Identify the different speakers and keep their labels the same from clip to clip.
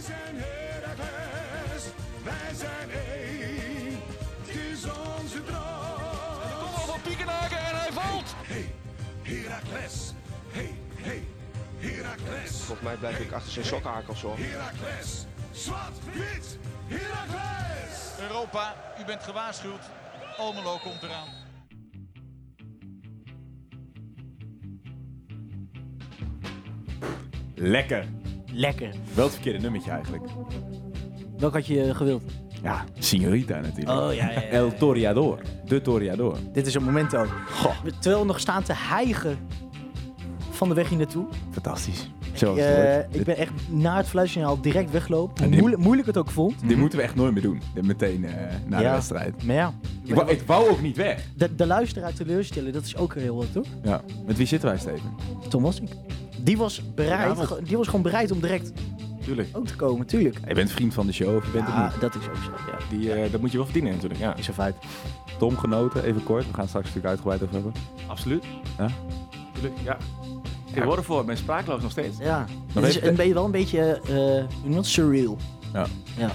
Speaker 1: zijn Heracles, wij zijn één. Het is onze droom.
Speaker 2: Kom van Piekenhaken en hij valt.
Speaker 1: Hey, Heracles. Hey, hey, Heracles.
Speaker 3: Volgens mij blijf ik achter zijn sokkenhaak of zo.
Speaker 1: Heracles. Zwart, wit, Heracles.
Speaker 2: Europa, u bent gewaarschuwd. Almelo komt eraan.
Speaker 4: Lekker.
Speaker 5: Lekker.
Speaker 4: Wel het verkeerde nummertje eigenlijk.
Speaker 5: Welk had je eh, gewild?
Speaker 4: Ja, Signorita natuurlijk.
Speaker 5: Oh, ja, ja, ja.
Speaker 4: El Toriador. De Toriador.
Speaker 5: Dit is een moment ook. Terwijl we nog staan te hijgen van de weg hier naartoe.
Speaker 4: Fantastisch. Zoals het
Speaker 5: Eh,
Speaker 4: hoort.
Speaker 5: ik ben echt na het fluitsignaal direct weggelopen. Hoe
Speaker 4: dit-
Speaker 5: moeilijk, moeilijk het ook vond.
Speaker 4: Dit moeten we echt nooit meer doen. Dit meteen eh, na de
Speaker 5: Ja.
Speaker 4: wedstrijd.
Speaker 5: Maar ja,
Speaker 4: Ik wou, ik wou ook niet weg.
Speaker 5: de, de luisteraar teleurstellen, dat is ook heel wat hoor.
Speaker 4: Ja. Met wie zitten wij, Steven?
Speaker 5: Tom Wassink. Die was, bereid,
Speaker 4: Goedenavond.
Speaker 5: ge- die was gewoon bereid om direct
Speaker 4: Tuurlijk.
Speaker 5: ook te komen, tuurlijk.
Speaker 4: Je bent vriend van de show of je bent
Speaker 5: Ja,
Speaker 4: het niet.
Speaker 5: dat is ook zo. Ja,
Speaker 4: Die, eh, dat moet je wel verdienen natuurlijk. Ja.
Speaker 5: is een feit.
Speaker 4: Tom genoten, even kort. We gaan het straks natuurlijk uitgebreid over hebben.
Speaker 3: Absoluut.
Speaker 4: Ja?
Speaker 3: Tuurlijk, ja. Ik word ervoor, ik ben spraakloos nog steeds.
Speaker 5: Ja, het is
Speaker 4: even-
Speaker 5: een, beetje- wel een beetje eh, hoe noem je dat? surreal.
Speaker 4: Ja.
Speaker 5: Ja.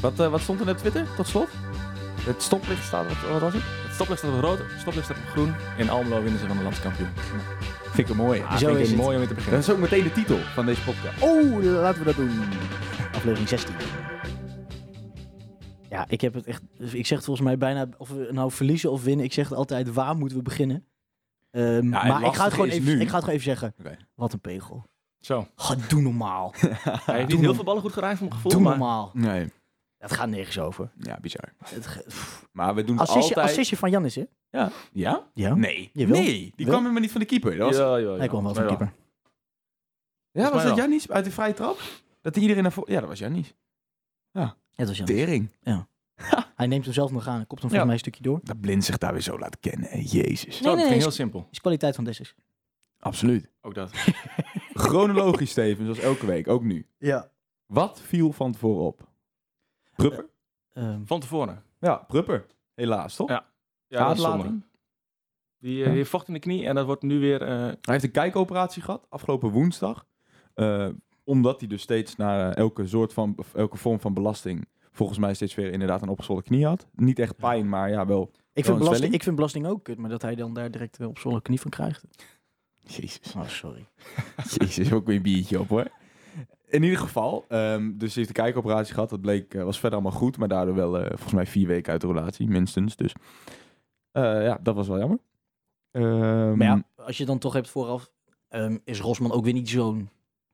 Speaker 3: Wat, eh, wat stond er op Twitter, tot slot? Het stoplicht staat, wat, wat was het? Het stoplicht staat op rood, het stoplicht staat op groen. In Almelo winnen ze van de landskampioen. Ah,
Speaker 4: Vind ik een mooie.
Speaker 5: Zo
Speaker 3: Vind ik
Speaker 5: is
Speaker 3: het
Speaker 5: het.
Speaker 3: mooi om mee te
Speaker 4: Dat
Speaker 3: beginnen.
Speaker 4: is ook meteen de titel van deze podcast.
Speaker 5: Oh, laten we dat doen. Aflevering 16. Ja, ik heb het echt. dus Ik zeg het volgens mij bijna. Of we nou verliezen of winnen. Ik zeg het altijd. Waar moeten we beginnen? Ehm,
Speaker 4: het
Speaker 5: maar ik ga,
Speaker 4: lastige
Speaker 5: het gewoon
Speaker 4: is
Speaker 5: even,
Speaker 4: nu-
Speaker 5: ik ga het gewoon even zeggen.
Speaker 4: Oké.
Speaker 5: Wat een pegel.
Speaker 3: Zo.
Speaker 5: Ga, doe normaal.
Speaker 3: Hij heeft niet heel veel ballen goed geraakt voor mijn gevoel,
Speaker 5: doe
Speaker 3: maar...
Speaker 5: normaal.
Speaker 4: Nee.
Speaker 5: Het gaat nergens over.
Speaker 4: Ja, bizar.
Speaker 5: Het, ge- pff.
Speaker 4: Maar we doen het
Speaker 5: assistje,
Speaker 4: altijd...
Speaker 5: assistje van Jannis, hè?
Speaker 4: Ja?
Speaker 5: Ja.
Speaker 4: Nee.
Speaker 5: Jawel.
Speaker 4: Nee. Die
Speaker 5: Wel.
Speaker 4: kwam helemaal niet van de keeper. Dat was...
Speaker 3: Ja, ja, ja.
Speaker 5: Hij kwam wel van
Speaker 3: Ja.
Speaker 5: de keeper.
Speaker 4: Ja, was
Speaker 3: mij
Speaker 4: dat
Speaker 3: wel.
Speaker 4: Janis uit de vrije trap? Dat iedereen naar voren... Ja, dat was Janis.
Speaker 5: Ja, dat was Jannis.
Speaker 4: Tering.
Speaker 5: Hij neemt hem zelf nog aan. Kopt hem volgens
Speaker 3: Ja.
Speaker 5: mij een stukje door.
Speaker 4: Dat blind zich daar weer zo laat kennen. hè. Jezus.
Speaker 3: Zo, dat
Speaker 5: Nee, nee,
Speaker 3: ging
Speaker 5: nee,
Speaker 3: heel simpel.
Speaker 5: Is kwaliteit van Dessus.
Speaker 4: Absoluut.
Speaker 3: Ook dat.
Speaker 4: Chronologisch, Steven, zoals elke week. Ook nu.
Speaker 5: Ja.
Speaker 4: Wat viel van tevoren op? Prupper?
Speaker 5: Ehm,
Speaker 3: Van tevoren.
Speaker 4: Ja, Prupper. Helaas, toch?
Speaker 3: Ja, Ja, dat is zonde. Die, eh,
Speaker 4: Ja.
Speaker 3: die vocht in de knie en dat wordt nu weer... eh,
Speaker 4: Hij heeft een kijkoperatie gehad afgelopen woensdag. Eh, omdat hij dus steeds naar eh, elke soort van of elke vorm van belasting volgens mij steeds weer inderdaad een opgezwollen knie had. Niet echt pijn, maar ja wel.
Speaker 5: ik,
Speaker 4: een
Speaker 5: vind belasting,
Speaker 4: zwelling.
Speaker 5: ik vind belasting ook kut. Maar dat hij dan daar direct eh, op zo'n knie van krijgt.
Speaker 4: Jezus.
Speaker 5: Oh, sorry.
Speaker 4: Jezus, ook weer een biertje op hoor. In ieder geval, ehm, dus hij heeft de kijkoperatie gehad. Dat bleek, eh, was verder allemaal goed, maar daardoor wel eh, volgens mij vier weken uit de relatie, minstens. Dus eh, ja, dat was wel jammer. Ehm,
Speaker 5: Maar ja, als je dan toch hebt vooraf, ehm, is Rosman ook weer niet zo'n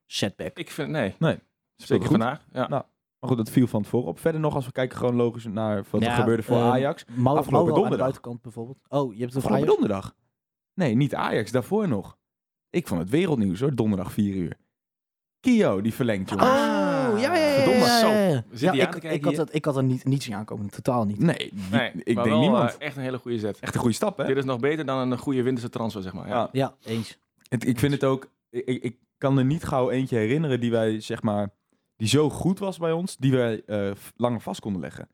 Speaker 5: setback.
Speaker 3: ik vind... Nee,
Speaker 4: speelde
Speaker 3: zeker
Speaker 4: goed. Nou,
Speaker 3: vandaag. Ja.
Speaker 4: Maar goed, dat viel van tevoren op. Verder nog, als we kijken gewoon logisch naar wat er
Speaker 5: Ja,
Speaker 4: gebeurde voor
Speaker 5: ehm,
Speaker 4: Ajax.
Speaker 5: Mau-
Speaker 4: Afgelopen
Speaker 5: Mauro aan de
Speaker 4: donderdag.
Speaker 5: buitenkant bijvoorbeeld. Oh, je hebt het
Speaker 4: Afgelopen
Speaker 5: over Ajax?
Speaker 4: donderdag. Nee, niet Ajax, daarvoor nog. Ik vond het wereldnieuws hoor, donderdag 4 uur. Kio, die verlengt, jongens. Ah,
Speaker 5: Oh, ja, ja, ja.
Speaker 3: Verdomme,
Speaker 5: ja,
Speaker 3: zo.
Speaker 5: ja, ja.
Speaker 3: We zitten hier
Speaker 5: Ja,
Speaker 3: aan
Speaker 5: ik,
Speaker 3: te kijken
Speaker 5: ik, had
Speaker 3: hier.
Speaker 5: dat, ik had er niet, niet zien aankomen, totaal niet.
Speaker 4: Nee, die-
Speaker 3: Nee,
Speaker 4: ik
Speaker 3: maar
Speaker 4: denk
Speaker 3: wel,
Speaker 4: niemand.
Speaker 3: eh, echt een hele goede zet.
Speaker 4: Echt een goede stap, hè?
Speaker 3: Dit is nog beter dan een goede winterse transfer, zeg maar. Ja.
Speaker 4: Ja.
Speaker 5: Ja, eens.
Speaker 4: Het- ik vind het ook... Ik, ik- ik kan er niet gauw eentje herinneren die wij, zeg maar... Die zo goed was bij ons, die wij eh, f- langer vast konden leggen.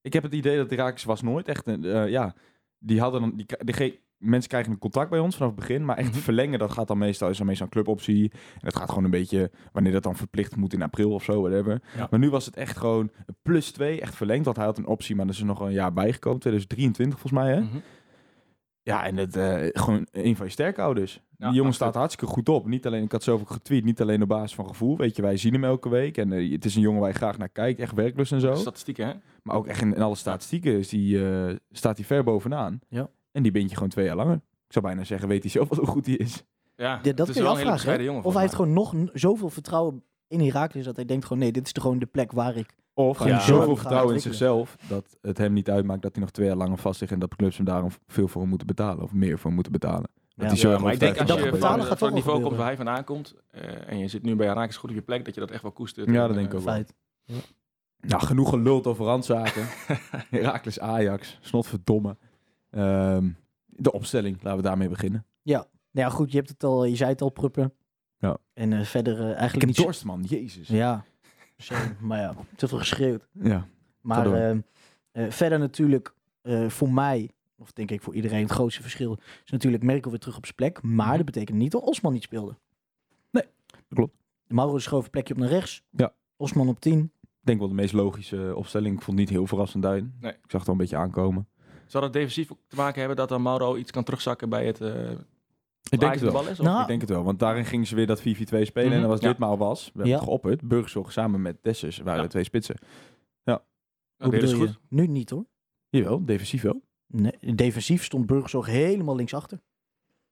Speaker 4: Ik heb het idee dat Irakis was nooit echt... een, eh, ja, die hadden dan... Die, k- die ge- mensen krijgen een contract bij ons vanaf het begin. Maar echt
Speaker 3: Mhm.
Speaker 4: verlengen, dat gaat dan meestal... Is dan meestal een cluboptie. En dat gaat gewoon een beetje... Wanneer dat dan verplicht moet in april of zo, whatever.
Speaker 3: Ja.
Speaker 4: Maar nu was het echt gewoon een plus 2. Echt verlengd, want hij had een optie. Maar er is er nog een jaar bijgekomen. 2023 volgens mij, hè?
Speaker 3: Mhm.
Speaker 4: Ja, en het, eh, gewoon een van je sterkouders. die
Speaker 3: Ja,
Speaker 4: jongen
Speaker 3: absoluut.
Speaker 4: staat hartstikke goed op. Niet alleen, ik had zoveel getweet, niet alleen op basis van gevoel. Weet je, wij zien hem elke week. En eh, het is een jongen waar je graag naar kijkt. Echt werklust en zo.
Speaker 3: Statistieken, hè?
Speaker 4: Maar ook echt in, in alle statistieken is die, eh, staat hij ver bovenaan.
Speaker 5: Ja.
Speaker 4: En die bind je gewoon twee jaar langer. Ik zou bijna zeggen, weet hij zelf wel hoe goed hij is.
Speaker 3: Ja,
Speaker 5: Ja, dat
Speaker 3: het
Speaker 5: kun
Speaker 3: is
Speaker 5: je
Speaker 3: wel een hele
Speaker 5: afvragen.
Speaker 3: bescheiden
Speaker 5: hè?
Speaker 3: jongen.
Speaker 5: Of hij heeft
Speaker 3: volgens
Speaker 5: gewoon nog n- zoveel vertrouwen in Herakles dat hij denkt gewoon, nee, dit is de- gewoon de plek waar ik...
Speaker 4: Of hij
Speaker 5: Ja.
Speaker 4: heeft
Speaker 5: Zo
Speaker 4: zoveel
Speaker 5: gaat
Speaker 4: vertrouwen in
Speaker 5: ontwikkelen.
Speaker 4: zichzelf dat het hem niet uitmaakt dat hij nog twee jaar langer vast ligt. En dat clubs hem daarom veel voor moeten betalen. Of meer voor moeten betalen. Dat
Speaker 5: Ja.
Speaker 4: hij zo
Speaker 3: mij.
Speaker 4: erg
Speaker 3: Ja, maar ik denk
Speaker 4: overtuigd
Speaker 3: als
Speaker 4: is
Speaker 5: dat
Speaker 3: je van,
Speaker 4: van zijn
Speaker 5: betalen
Speaker 3: eh,
Speaker 4: kwaliteit.
Speaker 5: gaat
Speaker 3: van het
Speaker 5: wel
Speaker 3: niveau komt
Speaker 5: gebeuren.
Speaker 3: waar hij vandaan komt eh, en je zit nu bij Raakjes goed op je plek, dat je dat echt wel koestert.
Speaker 4: Ja,
Speaker 3: En,
Speaker 4: dat denk ik
Speaker 3: eh,
Speaker 4: ook wel.
Speaker 5: Feit.
Speaker 4: Nou, genoeg geluld over randzaken. Herakles Ajax, snotverdomme. Ehm de opstelling, laten we daarmee beginnen.
Speaker 5: Nou ja, goed, je hebt het al, je zei het al, Pruppen.
Speaker 4: Ja.
Speaker 5: En eh, verder eh, eigenlijk
Speaker 4: Ik heb
Speaker 5: niet... zo-
Speaker 4: dorst, man. Jezus. Ja.
Speaker 5: Ja, zo, maar ja, te veel geschreeuwd.
Speaker 4: Ja.
Speaker 5: Maar
Speaker 4: Ga door.
Speaker 5: ehm, eh, verder natuurlijk eh, voor mij, of denk ik voor iedereen, het grootste verschil is natuurlijk Merkel weer terug op zijn plek. Maar dat betekent niet dat Osman niet speelde.
Speaker 4: Mhm. Nee, dat klopt.
Speaker 5: Mauro schoof een plekje op naar rechts.
Speaker 4: Ja.
Speaker 5: Osman op 10.
Speaker 4: Ik denk wel de meest logische opstelling. Ik vond het niet heel verrassend daarin.
Speaker 3: Nee.
Speaker 4: Ik zag het al een beetje aankomen.
Speaker 3: Zou dat defensief ook te maken hebben dat dan Mauro iets kan terugzakken bij het... eh
Speaker 4: Ik denk
Speaker 3: waar
Speaker 4: het
Speaker 3: de
Speaker 4: wel.
Speaker 3: bal is?
Speaker 5: Nou,
Speaker 4: Ik denk het wel, want daarin gingen ze weer dat 4-4-2 spelen. En
Speaker 3: Mhm,
Speaker 4: dat was
Speaker 3: ja.
Speaker 4: ditmaal was, we hebben
Speaker 5: Ja.
Speaker 4: het geopperd, Burgzorg samen met Dessers waren
Speaker 3: Ja.
Speaker 4: de twee spitsen.
Speaker 5: Hoe
Speaker 3: dat is
Speaker 5: bedoel
Speaker 3: goed.
Speaker 5: je? Nu niet hoor.
Speaker 4: Jawel, defensief wel.
Speaker 5: Nee, defensief stond Burgzorg helemaal linksachter.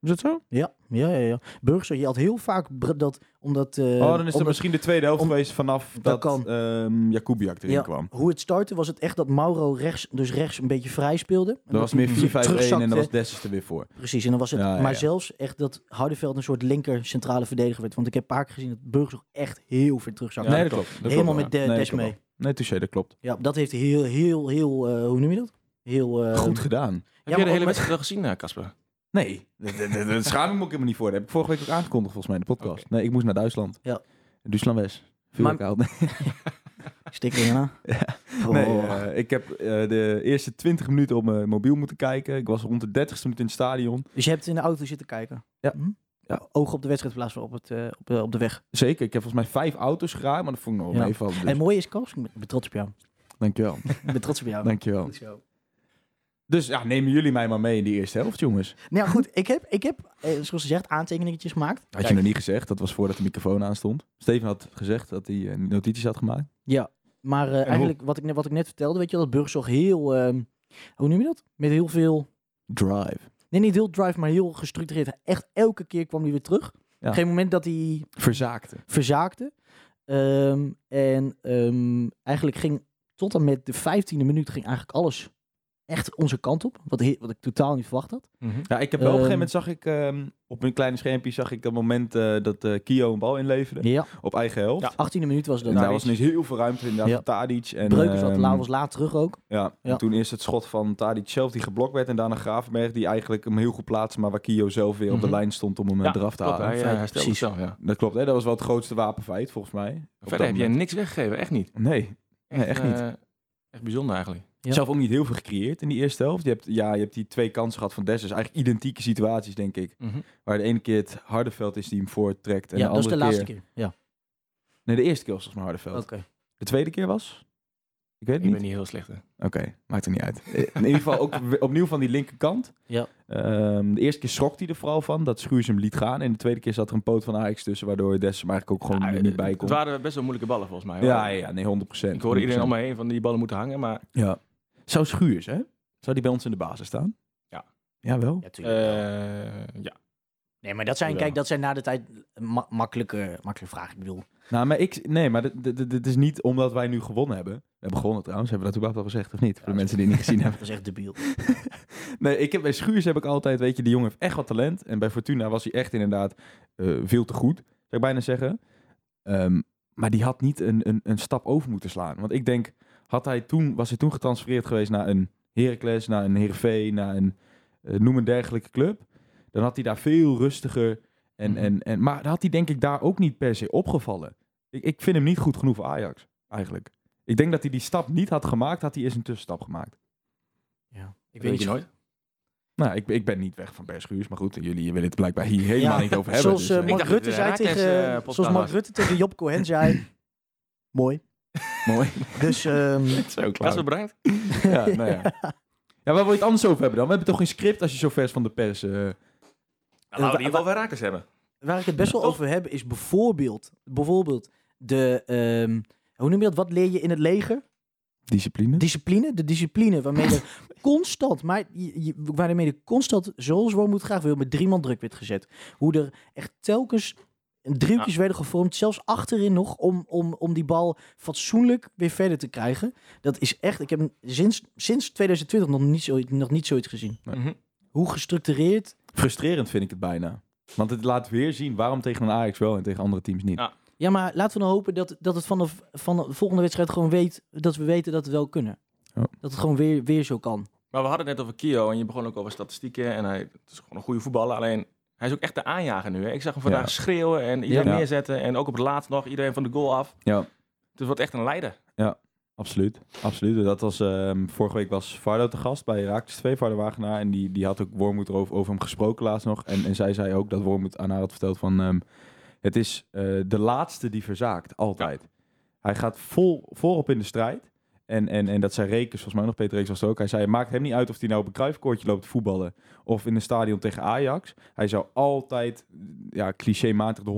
Speaker 4: Is dat zo?
Speaker 5: Ja, ja, ja. ja. Burgzorg, je had heel vaak br- dat, omdat... eh,
Speaker 4: oh, dan is het
Speaker 5: omdat-
Speaker 4: misschien de tweede helft
Speaker 5: om-
Speaker 4: geweest vanaf
Speaker 5: Dat
Speaker 4: dat,
Speaker 5: kan.
Speaker 4: ehm, Jacobiak erin
Speaker 5: Ja,
Speaker 4: kwam.
Speaker 5: Hoe het startte was het echt dat Mauro rechts, dus rechts een beetje vrij speelde. En
Speaker 4: Dat was
Speaker 5: hij
Speaker 4: meer 4-5-1 en
Speaker 5: terugzakte.
Speaker 4: dan was Dessers er weer voor.
Speaker 5: Precies, en dan was het.
Speaker 4: Ja, ja,
Speaker 5: maar
Speaker 4: ja.
Speaker 5: zelfs echt dat Houdeveld een soort linker centrale verdediger werd. Want ik heb een paar keer gezien dat Burgzorg echt heel ver terugzakte.
Speaker 4: nee, dat klopt. dat klopt
Speaker 5: Helemaal
Speaker 4: wel.
Speaker 5: met de-
Speaker 4: Nee, dat
Speaker 5: Des
Speaker 4: klopt
Speaker 5: mee.
Speaker 4: wel. Nee, touché, dat klopt.
Speaker 5: Ja, dat heeft heel, heel, heel, eh, hoe noem je dat? Heel eh,
Speaker 4: Goed
Speaker 3: Heb
Speaker 4: gedaan.
Speaker 5: maar
Speaker 3: jij
Speaker 5: ook
Speaker 3: de hele
Speaker 5: met-
Speaker 3: wedstrijd al gezien, eh, Casper?
Speaker 4: Nee, daar schaam ik me ook helemaal niet voor. Dat heb ik vorige week ook aangekondigd volgens mij in de podcast. Nee, ik moest naar Duitsland.
Speaker 5: Ja.
Speaker 4: Duitsland West. Viel
Speaker 5: Maar-
Speaker 4: ik uit.
Speaker 5: stikkingen aan. Oh.
Speaker 4: Nee, eh, ik heb eh, de eerste 20 minuten op mijn mobiel moeten kijken. Ik was rond de 30ste minuut in het stadion.
Speaker 5: Dus je hebt in de auto zitten kijken.
Speaker 4: Ja.
Speaker 5: Hm?
Speaker 4: Ja.
Speaker 5: Oog op de wedstrijd in plaats van op, het, eh, op, de, op de weg.
Speaker 4: Zeker, ik heb volgens mij vijf auto's geraakt, maar dat vond ik nog wel
Speaker 5: Ja.
Speaker 4: meevallen. Dus.
Speaker 5: En mooi is Koos, ik ben- ben trots op jou.
Speaker 4: Dankjewel,
Speaker 5: Ik ben trots op jou.
Speaker 4: dankjewel.
Speaker 5: Goed zo.
Speaker 4: Dus ja, nemen jullie mij maar mee in die eerste helft, jongens.
Speaker 5: Nou ja, goed, ik heb, ik heb eh, zoals gezegd, aantekeningetjes gemaakt.
Speaker 4: Had je nog niet gezegd, dat was voordat de microfoon aan stond. Steven had gezegd dat hij eh, notities had gemaakt.
Speaker 5: Maar eh, eigenlijk, wat ik, ne- wat ik net vertelde, weet je wel, dat Burgzorg heel, ehm, hoe noem je dat? Met heel veel
Speaker 4: Drive.
Speaker 5: Nee, niet heel drive, maar heel gestructureerd. Echt elke keer kwam hij weer terug.
Speaker 4: Ja.
Speaker 5: Geen moment dat hij
Speaker 4: Verzaakte.
Speaker 5: verzaakte. Ehm, en ehm, eigenlijk ging tot en met de 15e minuut ging eigenlijk alles echt onze kant op. Wat, he- wat ik totaal niet verwacht had.
Speaker 4: Ja, ik heb wel op een
Speaker 5: Ehm.
Speaker 4: gegeven moment zag ik, ehm, op een klein schermpje zag ik dat moment eh, dat eh, Kio een bal inleverde.
Speaker 5: Ja.
Speaker 4: Op eigen helft.
Speaker 3: Ja.
Speaker 5: 18e minuut was dat.
Speaker 4: En daar was ineens heel veel ruimte inderdaad
Speaker 5: Ja.
Speaker 4: voor Tadic. En,
Speaker 5: Breukers wat
Speaker 4: ehm,
Speaker 5: laat was laat terug ook.
Speaker 4: Ja, en
Speaker 5: Ja.
Speaker 4: toen eerst het schot van Tadic zelf die geblokt werd en daarna Gravenberg die eigenlijk hem heel goed plaatste, maar waar Kio zelf weer op de
Speaker 3: Mhm.
Speaker 4: lijn stond om hem eh, eraf te
Speaker 3: klopt,
Speaker 4: halen.
Speaker 3: Hij, eh,
Speaker 5: Feit,
Speaker 3: hij stelde
Speaker 5: precies.
Speaker 3: het zo, ja.
Speaker 4: Dat klopt, hè? dat was wel het grootste wapenfeit volgens mij. Op dat
Speaker 3: Verder heb jij
Speaker 4: moment.
Speaker 3: niks weggegeven, echt niet.
Speaker 4: Nee, nee, echt niet.
Speaker 3: eh, echt bijzonder eigenlijk.
Speaker 5: Ja.
Speaker 4: Zelf ook niet heel veel gecreëerd in die eerste helft. Je hebt, ja, je hebt die twee kansen gehad van Dessers. Eigenlijk identieke situaties, denk ik.
Speaker 3: Mhm.
Speaker 4: Waar de ene keer het Hardeveld is die hem voorttrekt. En
Speaker 5: ja,
Speaker 4: de
Speaker 5: dat is
Speaker 4: andere
Speaker 5: de laatste keer. Ja,
Speaker 4: Nee, de eerste keer was volgens mij Hardeveld.
Speaker 5: oké.
Speaker 4: De tweede keer was? Ik weet het
Speaker 3: Ik
Speaker 4: niet.
Speaker 3: ben niet heel slecht. hè.
Speaker 4: Oké, maakt er niet uit. Eh, In ieder geval ook we- opnieuw van die linkerkant.
Speaker 5: Ja.
Speaker 4: Ehm, de eerste keer schrok hij er vooral van dat Schuurs hem liet gaan. En de tweede keer zat er een poot van Ajax tussen, waardoor Des hem eigenlijk ook gewoon
Speaker 3: Ah,
Speaker 4: er niet bij kon.
Speaker 3: Het waren best wel moeilijke ballen volgens mij. hoor.
Speaker 4: Ja, ja, nee, 100%.
Speaker 3: Ik hoorde iedereen
Speaker 4: 100%.
Speaker 3: om me heen van die ballen moeten hangen, maar
Speaker 4: Ja. Zou Schuurs, hè? Zou die bij ons in de basis staan?
Speaker 3: Ja.
Speaker 4: Jawel.
Speaker 5: Ja, tuurlijk.
Speaker 3: eh, ja.
Speaker 5: nee, maar dat zijn,
Speaker 3: ja.
Speaker 5: kijk, dat zijn na de tijd ma- makkelijke, makkelijke vragen. Ik bedoel,
Speaker 4: Nou, maar ik... Nee, maar dit- dit dit- dit is niet omdat wij nu gewonnen hebben. We hebben gewonnen trouwens. Hebben we dat überhaupt al gezegd of niet? Voor de
Speaker 5: dat
Speaker 4: mensen die het niet gezien hebben.
Speaker 5: dat is echt debiel.
Speaker 4: Nee, ik heb, bij Schuurs heb ik altijd, weet je, die jongen heeft echt wat talent. En bij Fortuna was hij echt inderdaad eh, veel te goed, zou ik bijna zeggen. Ehm, maar die had niet een, een, een stap over moeten slaan. Want ik denk, had hij toen, was hij toen getransfereerd geweest naar een Heracles, naar een Heerenveen, naar een eh, noem een dergelijke club. Dan had hij daar veel rustiger. En,
Speaker 3: Mhm.
Speaker 4: en, en, maar dan had hij denk ik daar ook niet per se opgevallen. Ik, ik vind hem niet goed genoeg voor Ajax, eigenlijk. Ik denk dat hij die stap niet had gemaakt, had hij eens een tussenstap gemaakt.
Speaker 5: Ja, ik
Speaker 3: weet je nooit.
Speaker 4: Nou, ik, ik ben niet weg van Per Schuurs, maar goed, jullie willen het blijkbaar hier helemaal
Speaker 5: Ja,
Speaker 4: niet over hebben.
Speaker 5: Zoals,
Speaker 4: dus,
Speaker 5: eh,
Speaker 4: eh,
Speaker 5: Mark,
Speaker 3: dacht
Speaker 5: Rutte
Speaker 3: dat
Speaker 5: zei
Speaker 3: het een
Speaker 5: tegen,
Speaker 3: Raakles, eh, podcast
Speaker 5: zoals Mark
Speaker 3: was.
Speaker 5: Rutte tegen Job Cohen zei. Mooi.
Speaker 4: eh, mooi.
Speaker 5: Dus ehm,
Speaker 4: Zo
Speaker 3: Casper,
Speaker 4: klaar.
Speaker 3: bedankt.
Speaker 4: Ja, nou ja. ja, waar wil je het anders over hebben dan? We hebben toch geen script als je zo vers van de pers... eh,
Speaker 3: Laten we in ieder geval weer rakers hebben.
Speaker 5: waar ik het best wel over heb, is bijvoorbeeld, bijvoorbeeld de. ehm, hoe noem je dat? Wat leer je in het leger?
Speaker 4: Discipline?
Speaker 5: Discipline. De discipline waarmee de constant, maar je- je- waarmee de constant, zoals Worm moet graag wil, met drie man druk werd gezet. Hoe er echt telkens driehoekjes werden gevormd, zelfs achterin nog, om, om, om die bal fatsoenlijk weer verder te krijgen. Dat is echt, ik heb sinds, sinds 2020 nog niet, zo, nog niet zoiets gezien.
Speaker 4: Nee.
Speaker 3: Mhm.
Speaker 5: Hoe gestructureerd.
Speaker 4: Frustrerend vind ik het bijna. Want het laat weer zien waarom tegen een Ajax wel en tegen andere teams niet.
Speaker 3: Ja.
Speaker 5: Ja, maar laten we nou hopen dat, dat het van de, van de volgende wedstrijd gewoon weet, dat we weten dat we wel kunnen.
Speaker 4: Ja.
Speaker 5: Dat het gewoon weer, weer zo kan.
Speaker 3: Maar we hadden het net over Kio en je begon ook over statistieken. En hij het is gewoon een goede voetballer. Alleen hij is ook echt de aanjager nu. Hè? Ik zag hem vandaag
Speaker 4: Ja.
Speaker 3: schreeuwen en iedereen
Speaker 4: Ja.
Speaker 3: neerzetten. En ook op het laatst nog iedereen van de goal af.
Speaker 4: Ja.
Speaker 3: Dus het wordt echt een leider.
Speaker 4: Absoluut, absoluut. Dat was, ehm, vorige week was Vardo te gast bij Raaktes 2, Vardo Wagenaar. En die, die had ook Wormoed erover over hem gesproken laatst nog. En, en zij zei ook dat Wormoed aan haar had verteld van... ehm, het is eh, de laatste die verzaakt, altijd. Hij gaat vol, voorop in de strijd. En, en, en dat zei Rekers, volgens mij nog Peter Rekers was het ook. Hij zei, het maakt hem niet uit of hij nou op een kruifkoortje loopt te voetballen... of in een stadion tegen Ajax. Hij zou altijd, ja, clichématig de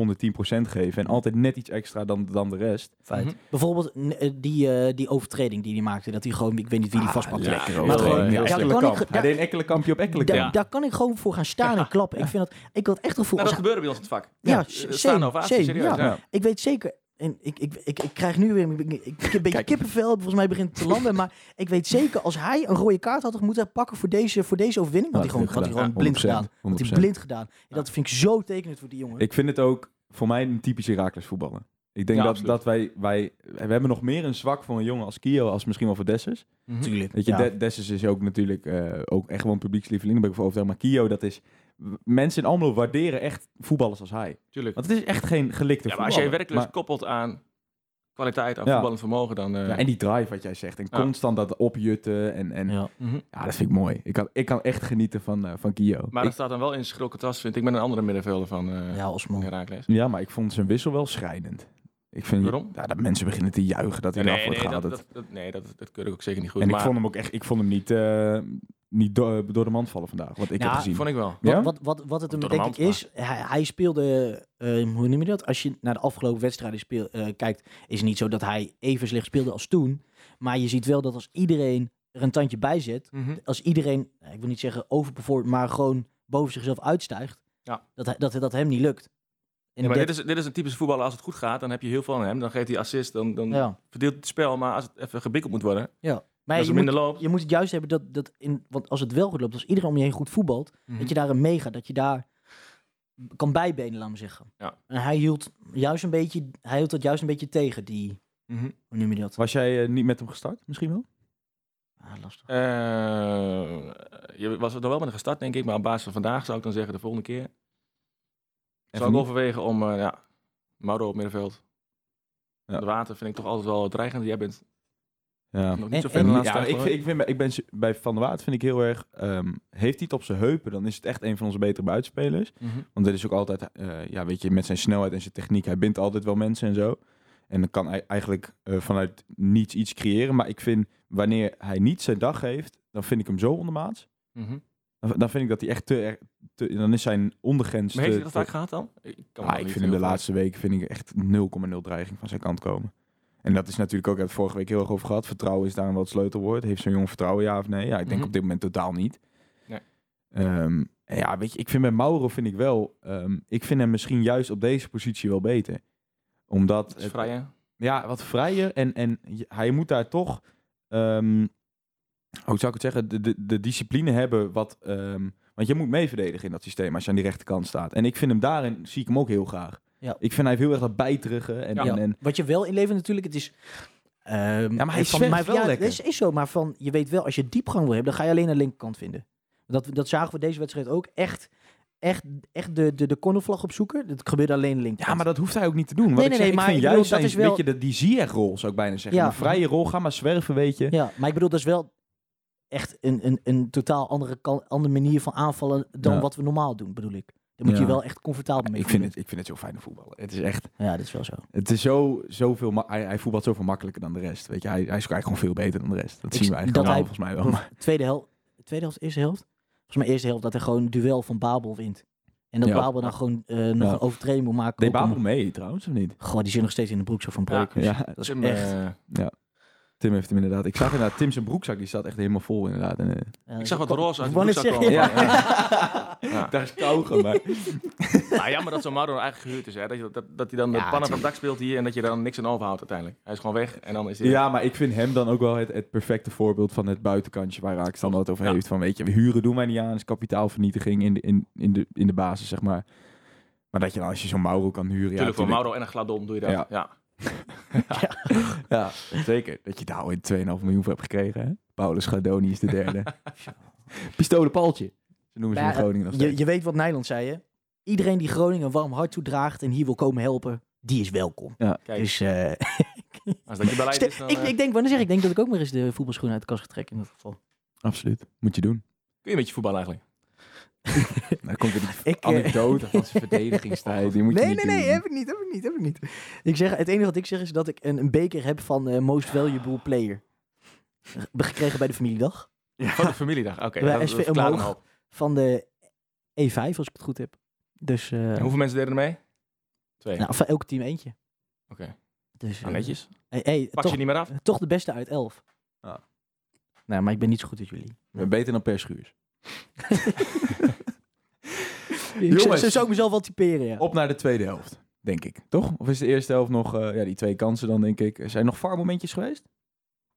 Speaker 4: 110% geven. En altijd net iets extra dan, dan de rest.
Speaker 5: Feit. Bijvoorbeeld n- eh, die, eh, die overtreding die hij maakte. Dat hij gewoon, ik weet niet wie
Speaker 4: Ah,
Speaker 5: die vastpakte.
Speaker 3: hoor.
Speaker 5: maar gewoon,
Speaker 3: Heel, eh,
Speaker 5: ja, daar, kan ik,
Speaker 4: Ekkelenkamp. Hij
Speaker 5: daar,
Speaker 4: deed een Ekkelenkampje op Ekkelenkamp.
Speaker 5: daar,
Speaker 3: ja.
Speaker 5: daar kan ik gewoon voor gaan staan en klappen. Ik, vind dat, ik had echt het gevoel...
Speaker 6: Nou, dat
Speaker 5: als-
Speaker 6: gebeurde bij ons in het vak.
Speaker 5: Ja,
Speaker 6: Eh,
Speaker 5: same,
Speaker 6: staande ovatie,
Speaker 5: same,
Speaker 6: serieus.
Speaker 5: ja.
Speaker 6: ja.
Speaker 5: Ik weet zeker. En ik, ik, ik, ik krijg nu weer ik, ik, ik een beetje kippenvel. Volgens mij begint het te landen. Maar ik weet zeker, als hij een rode kaart had moeten pakken voor deze, voor deze overwinning, had hij gewoon, had hij gewoon blind gedaan. Had hij blind gedaan. En dat vind ik zo tekenend voor die jongen.
Speaker 4: Ik vind het ook voor mij een typische Herakles voetballer. Ik denk
Speaker 6: Ja,
Speaker 4: dat,
Speaker 6: absoluut.
Speaker 4: dat wij, wij... We hebben nog meer een zwak voor een jongen als Kio... als misschien wel voor Dessus.
Speaker 5: natuurlijk.
Speaker 4: Weet je, De- Dessus is ook natuurlijk eh, ook echt wel een publiekslieveling. Daar ben ik voor overtuigd. Maar Kio, dat is... w- Mensen in Almelo waarderen echt voetballers als hij.
Speaker 6: Tuurlijk.
Speaker 4: Want het is echt geen gelikte
Speaker 6: Ja, maar als
Speaker 4: voetballer.
Speaker 6: jij werkelijk
Speaker 4: Maar-
Speaker 6: koppelt aan kwaliteit, aan
Speaker 4: Ja.
Speaker 6: voetballend vermogen, dan... eh,
Speaker 4: ja, en die drive wat jij zegt. En
Speaker 6: Ja.
Speaker 4: constant dat opjutten. En, en, ja.
Speaker 5: Ja.
Speaker 6: mhm.
Speaker 4: dat vind ik mooi. Ik kan, ik kan echt genieten van, eh, van Kio.
Speaker 6: Maar
Speaker 4: Ik-
Speaker 6: dat staat dan wel in schril contrast, vind ik, met een andere middenvelder van eh
Speaker 5: Ja, Osman.
Speaker 6: Herakles.
Speaker 4: Ja, maar ik vond zijn wissel wel schrijnend. Ik vind
Speaker 6: Waarom?
Speaker 4: Ja, dat mensen beginnen te juichen dat hij eraf wordt gehaald.
Speaker 6: dat, dat, dat- nee, dat, dat keur ik ook zeker niet goed.
Speaker 4: en
Speaker 6: maar
Speaker 4: ik vond hem ook echt, ik vond hem niet, eh, niet do- eh, door de mand vallen vandaag, wat ik
Speaker 5: Nou,
Speaker 4: heb gezien.
Speaker 6: vond ik wel.
Speaker 4: Ja?
Speaker 5: Wat, wat, wat, wat het hem
Speaker 6: Door
Speaker 5: denk
Speaker 6: de
Speaker 5: ik
Speaker 6: mand,
Speaker 5: is, hij, hij speelde, eh, hoe noem je dat? Als je naar de afgelopen wedstrijden speel, eh, kijkt, is het niet zo dat hij even slecht speelde als toen. Maar je ziet wel dat als iedereen er een tandje bij zet,
Speaker 6: Mhm.
Speaker 5: als iedereen, nou, ik wil niet zeggen overperformt, maar gewoon boven zichzelf uitstijgt,
Speaker 6: Ja.
Speaker 5: dat, hij, dat, dat hem niet lukt. En
Speaker 6: Ja, maar
Speaker 5: dat-
Speaker 6: dit is, dit is een typische voetballer. Als het goed gaat, dan heb je heel veel aan hem. Dan geeft hij assist, dan, dan
Speaker 5: ja.
Speaker 6: verdeelt het spel. Maar als het even gebikkeld moet worden,
Speaker 5: Maar
Speaker 6: als
Speaker 5: je
Speaker 6: het
Speaker 5: moet,
Speaker 6: minder loopt...
Speaker 5: je moet het juist hebben dat, dat in, want als het wel goed loopt, als iedereen om je heen goed voetbalt,
Speaker 6: Mhm.
Speaker 5: dat je daar een mega, dat je daar kan bijbenen, laat me zeggen.
Speaker 6: Ja.
Speaker 5: En hij hield, juist een beetje, hij hield dat juist een beetje tegen, die,
Speaker 6: Mhm.
Speaker 5: hoe noem je dat?
Speaker 4: Was jij eh, niet met hem gestart, misschien wel?
Speaker 5: Ah, lastig.
Speaker 6: Eh, je was er wel met een gestart, denk ik. Maar op basis van vandaag zou ik dan zeggen, de volgende keer... zou
Speaker 4: Even
Speaker 6: ik
Speaker 4: niet?
Speaker 6: overwegen om eh ja, Mauro op middenveld.
Speaker 4: Ja.
Speaker 6: De water vind ik toch altijd wel dreigend. Jij bent
Speaker 4: Ja.
Speaker 6: nog niet zo
Speaker 5: En-
Speaker 6: ver in de
Speaker 5: en-
Speaker 6: laatste
Speaker 4: Ja,
Speaker 6: tijd,
Speaker 4: ik,
Speaker 6: hoor.
Speaker 4: vind- ik vind, bij- ik ben, s- bij Van der Waard vind ik heel erg, ehm, heeft hij het op zijn heupen, dan is het echt een van onze betere buitenspelers.
Speaker 6: Mhm.
Speaker 4: Want dit is ook altijd, eh, ja, weet je, met zijn snelheid en zijn techniek, hij bindt altijd wel mensen en zo. En dan kan hij eigenlijk eh, vanuit niets iets creëren. Maar ik vind, wanneer hij niet zijn dag heeft, dan vind ik hem zo ondermaats.
Speaker 6: Mhm.
Speaker 4: Dan, dan vind ik dat hij echt te, erg- te- dan is zijn ondergrens
Speaker 6: Maar
Speaker 4: te-
Speaker 6: heeft hij dat
Speaker 4: te-
Speaker 6: vaak gehad dan? Ik, kan me
Speaker 4: Ah,
Speaker 6: nog
Speaker 4: Dus ik
Speaker 6: niet
Speaker 4: vind hem de
Speaker 6: heel veel-
Speaker 4: laatste weken vind ik echt 0,0 dreiging van zijn kant komen. En dat is natuurlijk ook, ik heb het vorige week heel erg over gehad. Vertrouwen is daar wel het sleutelwoord. Heeft zo'n jongen vertrouwen, ja of nee? Ja, ik denk
Speaker 6: Mhm.
Speaker 4: op dit moment totaal niet.
Speaker 6: Nee.
Speaker 4: Ehm, en ja, weet je, ik vind bij Mauro vind ik wel, ehm, ik vind hem misschien juist op deze positie wel beter. Omdat...
Speaker 6: Dat is
Speaker 4: het-
Speaker 6: vrij, hè?
Speaker 4: ja, wat vrijer. En, en je- hij moet daar toch, ehm, hoe zou ik het zeggen, de, de, de discipline hebben. Wat, ehm, want je moet mee verdedigen in dat systeem als je aan die rechterkant staat. En ik vind hem daarin, zie ik hem ook heel graag.
Speaker 5: Ja.
Speaker 4: Ik vind hij heeft heel erg dat bijterige. En,
Speaker 6: Ja.
Speaker 4: en, en,
Speaker 5: Wat je wel inlevert natuurlijk, het is... ehm,
Speaker 4: maar hij
Speaker 5: van
Speaker 4: zwemt
Speaker 5: mij-
Speaker 4: wel
Speaker 5: ja,
Speaker 4: lekker.
Speaker 5: Is, is zo, maar van, je weet wel, als je diepgang wil hebben, dan ga je alleen aan de linkerkant vinden. Dat, dat zagen we deze wedstrijd ook echt, echt, echt de, de, de cornervlag opzoeken. Dat gebeurde alleen aan de
Speaker 4: ja,
Speaker 5: linkerkant.
Speaker 4: maar dat hoeft hij ook niet te doen. Wat
Speaker 5: Nee,
Speaker 4: ik
Speaker 5: nee,
Speaker 4: zeg,
Speaker 5: nee,
Speaker 4: ik
Speaker 5: maar
Speaker 4: vind
Speaker 5: ik
Speaker 4: juist
Speaker 5: bedoel, dat
Speaker 4: zijn,
Speaker 5: is wel-
Speaker 4: weet je, de, die Ziyech-rol zou ik bijna zeggen.
Speaker 5: Ja.
Speaker 4: Een vrije rol, ga maar zwerven, weet je.
Speaker 5: Ja, maar ik bedoel, dat is wel echt een, een, een totaal andere, kan, andere manier van aanvallen dan
Speaker 4: Ja.
Speaker 5: wat we normaal doen, bedoel ik. Daar moet
Speaker 4: Ja.
Speaker 5: je wel echt comfortabel mee
Speaker 4: Ik vind,
Speaker 5: voelen.
Speaker 4: het, ik vind het zo fijn voetballen. Het is echt,
Speaker 5: Ja, dat is wel zo.
Speaker 4: het is zo, zoveel, ma- hij, hij voetbalt zoveel makkelijker dan de rest. Weet je, hij, hij is ook eigenlijk gewoon veel beter dan de rest. Dat
Speaker 5: Ik-
Speaker 4: zien we eigenlijk
Speaker 5: dat hij-
Speaker 4: allemaal, volgens mij wel. Maar-
Speaker 5: Tweede helft, tweede helft, eerste helft? Volgens mij eerste helft dat hij gewoon een duel van Babel wint. En dat
Speaker 4: Ja.
Speaker 5: Babel dan gewoon eh, nog
Speaker 4: Ja.
Speaker 5: een overtreding moet maken.
Speaker 4: Deed
Speaker 5: op hem.
Speaker 4: Babel mee trouwens, of niet?
Speaker 5: Goh, die zit nog steeds in de broek zo van breuk. dus
Speaker 4: Ja,
Speaker 5: Dat is
Speaker 6: Tim,
Speaker 5: echt...
Speaker 6: eh,
Speaker 4: Tim heeft hem inderdaad. Ik zag inderdaad, Tim zijn broekzak die staat echt helemaal vol inderdaad. En, eh,
Speaker 5: eh,
Speaker 6: ik zag wat
Speaker 5: kon-
Speaker 6: roze uit de
Speaker 5: wou net
Speaker 6: broekzak
Speaker 5: zeggen,
Speaker 6: komen.
Speaker 5: ja.
Speaker 6: Ja.
Speaker 4: Daar is kauwgom bij.
Speaker 6: Nou, jammer dat zo'n Mauro eigenlijk gehuurd is. Hè? Dat, je, dat, dat hij dan de
Speaker 5: Ja,
Speaker 6: pannen van het dak speelt hier en dat je daar dan niks aan overhoudt uiteindelijk. Hij is gewoon weg en dan is hij...
Speaker 4: Ja, maar ik vind hem dan ook wel het, het perfecte voorbeeld van het buitenkantje waar Raak dan het over
Speaker 6: Ja.
Speaker 4: heeft. Van weet je, we huren doen wij niet aan, is kapitaalvernietiging in de, in, in, de, in de basis, zeg maar. Maar dat je dan als je zo'n Mauro kan huren. Ja,
Speaker 6: Tuurlijk, voor
Speaker 4: natuurlijk.
Speaker 6: Mauro en een gladom doe je dat. Ja.
Speaker 4: Ja. Ja, zeker. Dat je daar al in 2,5 miljoen voor hebt gekregen. Hè? Paulus Gadoni is de derde. Pistolenpaaltje. Ze noemen ze
Speaker 5: Maar, eh,
Speaker 4: hem in Groningen nog
Speaker 5: Je,
Speaker 4: steeds.
Speaker 5: je weet wat Nijland zei, hè? Iedereen die Groningen een warm hart toedraagt en hier wil komen helpen, die is welkom.
Speaker 6: Kijk,
Speaker 5: Dus eh,
Speaker 6: als dat je beleid
Speaker 5: Ste-
Speaker 6: is, dan
Speaker 5: ik,
Speaker 6: eh,
Speaker 5: ik denk, wanneer zeg ik, ik denk dat ik ook maar eens de voetbalschoenen uit de kast ga trekken in dat geval.
Speaker 4: Absoluut. Moet je doen.
Speaker 6: kun je met je voetbal eigenlijk.
Speaker 4: Dan komt er die
Speaker 5: Ik, eh,
Speaker 4: anekdote van zijn verdedigingstijd. Die moet je
Speaker 5: nee,
Speaker 4: niet
Speaker 5: nee, nee,
Speaker 4: doen.
Speaker 5: heb ik niet, heb ik niet, heb ik niet. Ik zeg, het enige wat ik zeg is dat ik een, een beker heb van eh, Most Valuable Player. Ge- Gekregen bij de familiedag.
Speaker 6: Van de familiedag. Oké,
Speaker 5: Bij
Speaker 6: dat, dat
Speaker 5: SV
Speaker 6: verklaart
Speaker 5: omhoog.
Speaker 6: een hoop.
Speaker 5: Van de E5, als ik het goed heb. Dus, eh,
Speaker 6: En hoeveel mensen deden er mee? Twee.
Speaker 5: nou, van elk team eentje.
Speaker 6: Oké.
Speaker 5: Dus,
Speaker 6: Nou,
Speaker 5: eh,
Speaker 6: netjes.
Speaker 5: hey, hey,
Speaker 6: Pak
Speaker 5: toch,
Speaker 6: je niet meer af.
Speaker 5: toch de beste uit elf.
Speaker 4: Ah.
Speaker 5: Nou, maar ik ben niet zo goed als jullie.
Speaker 4: Beter dan per schuurs.
Speaker 5: Ik zou-
Speaker 4: Jongens.
Speaker 5: zo zou ik mezelf wel typeren, ja.
Speaker 4: Op naar de tweede helft, denk ik. Toch? Of is de eerste helft nog... eh, ja, die twee kansen dan, denk ik. Zijn er nog VAR-momentjes geweest?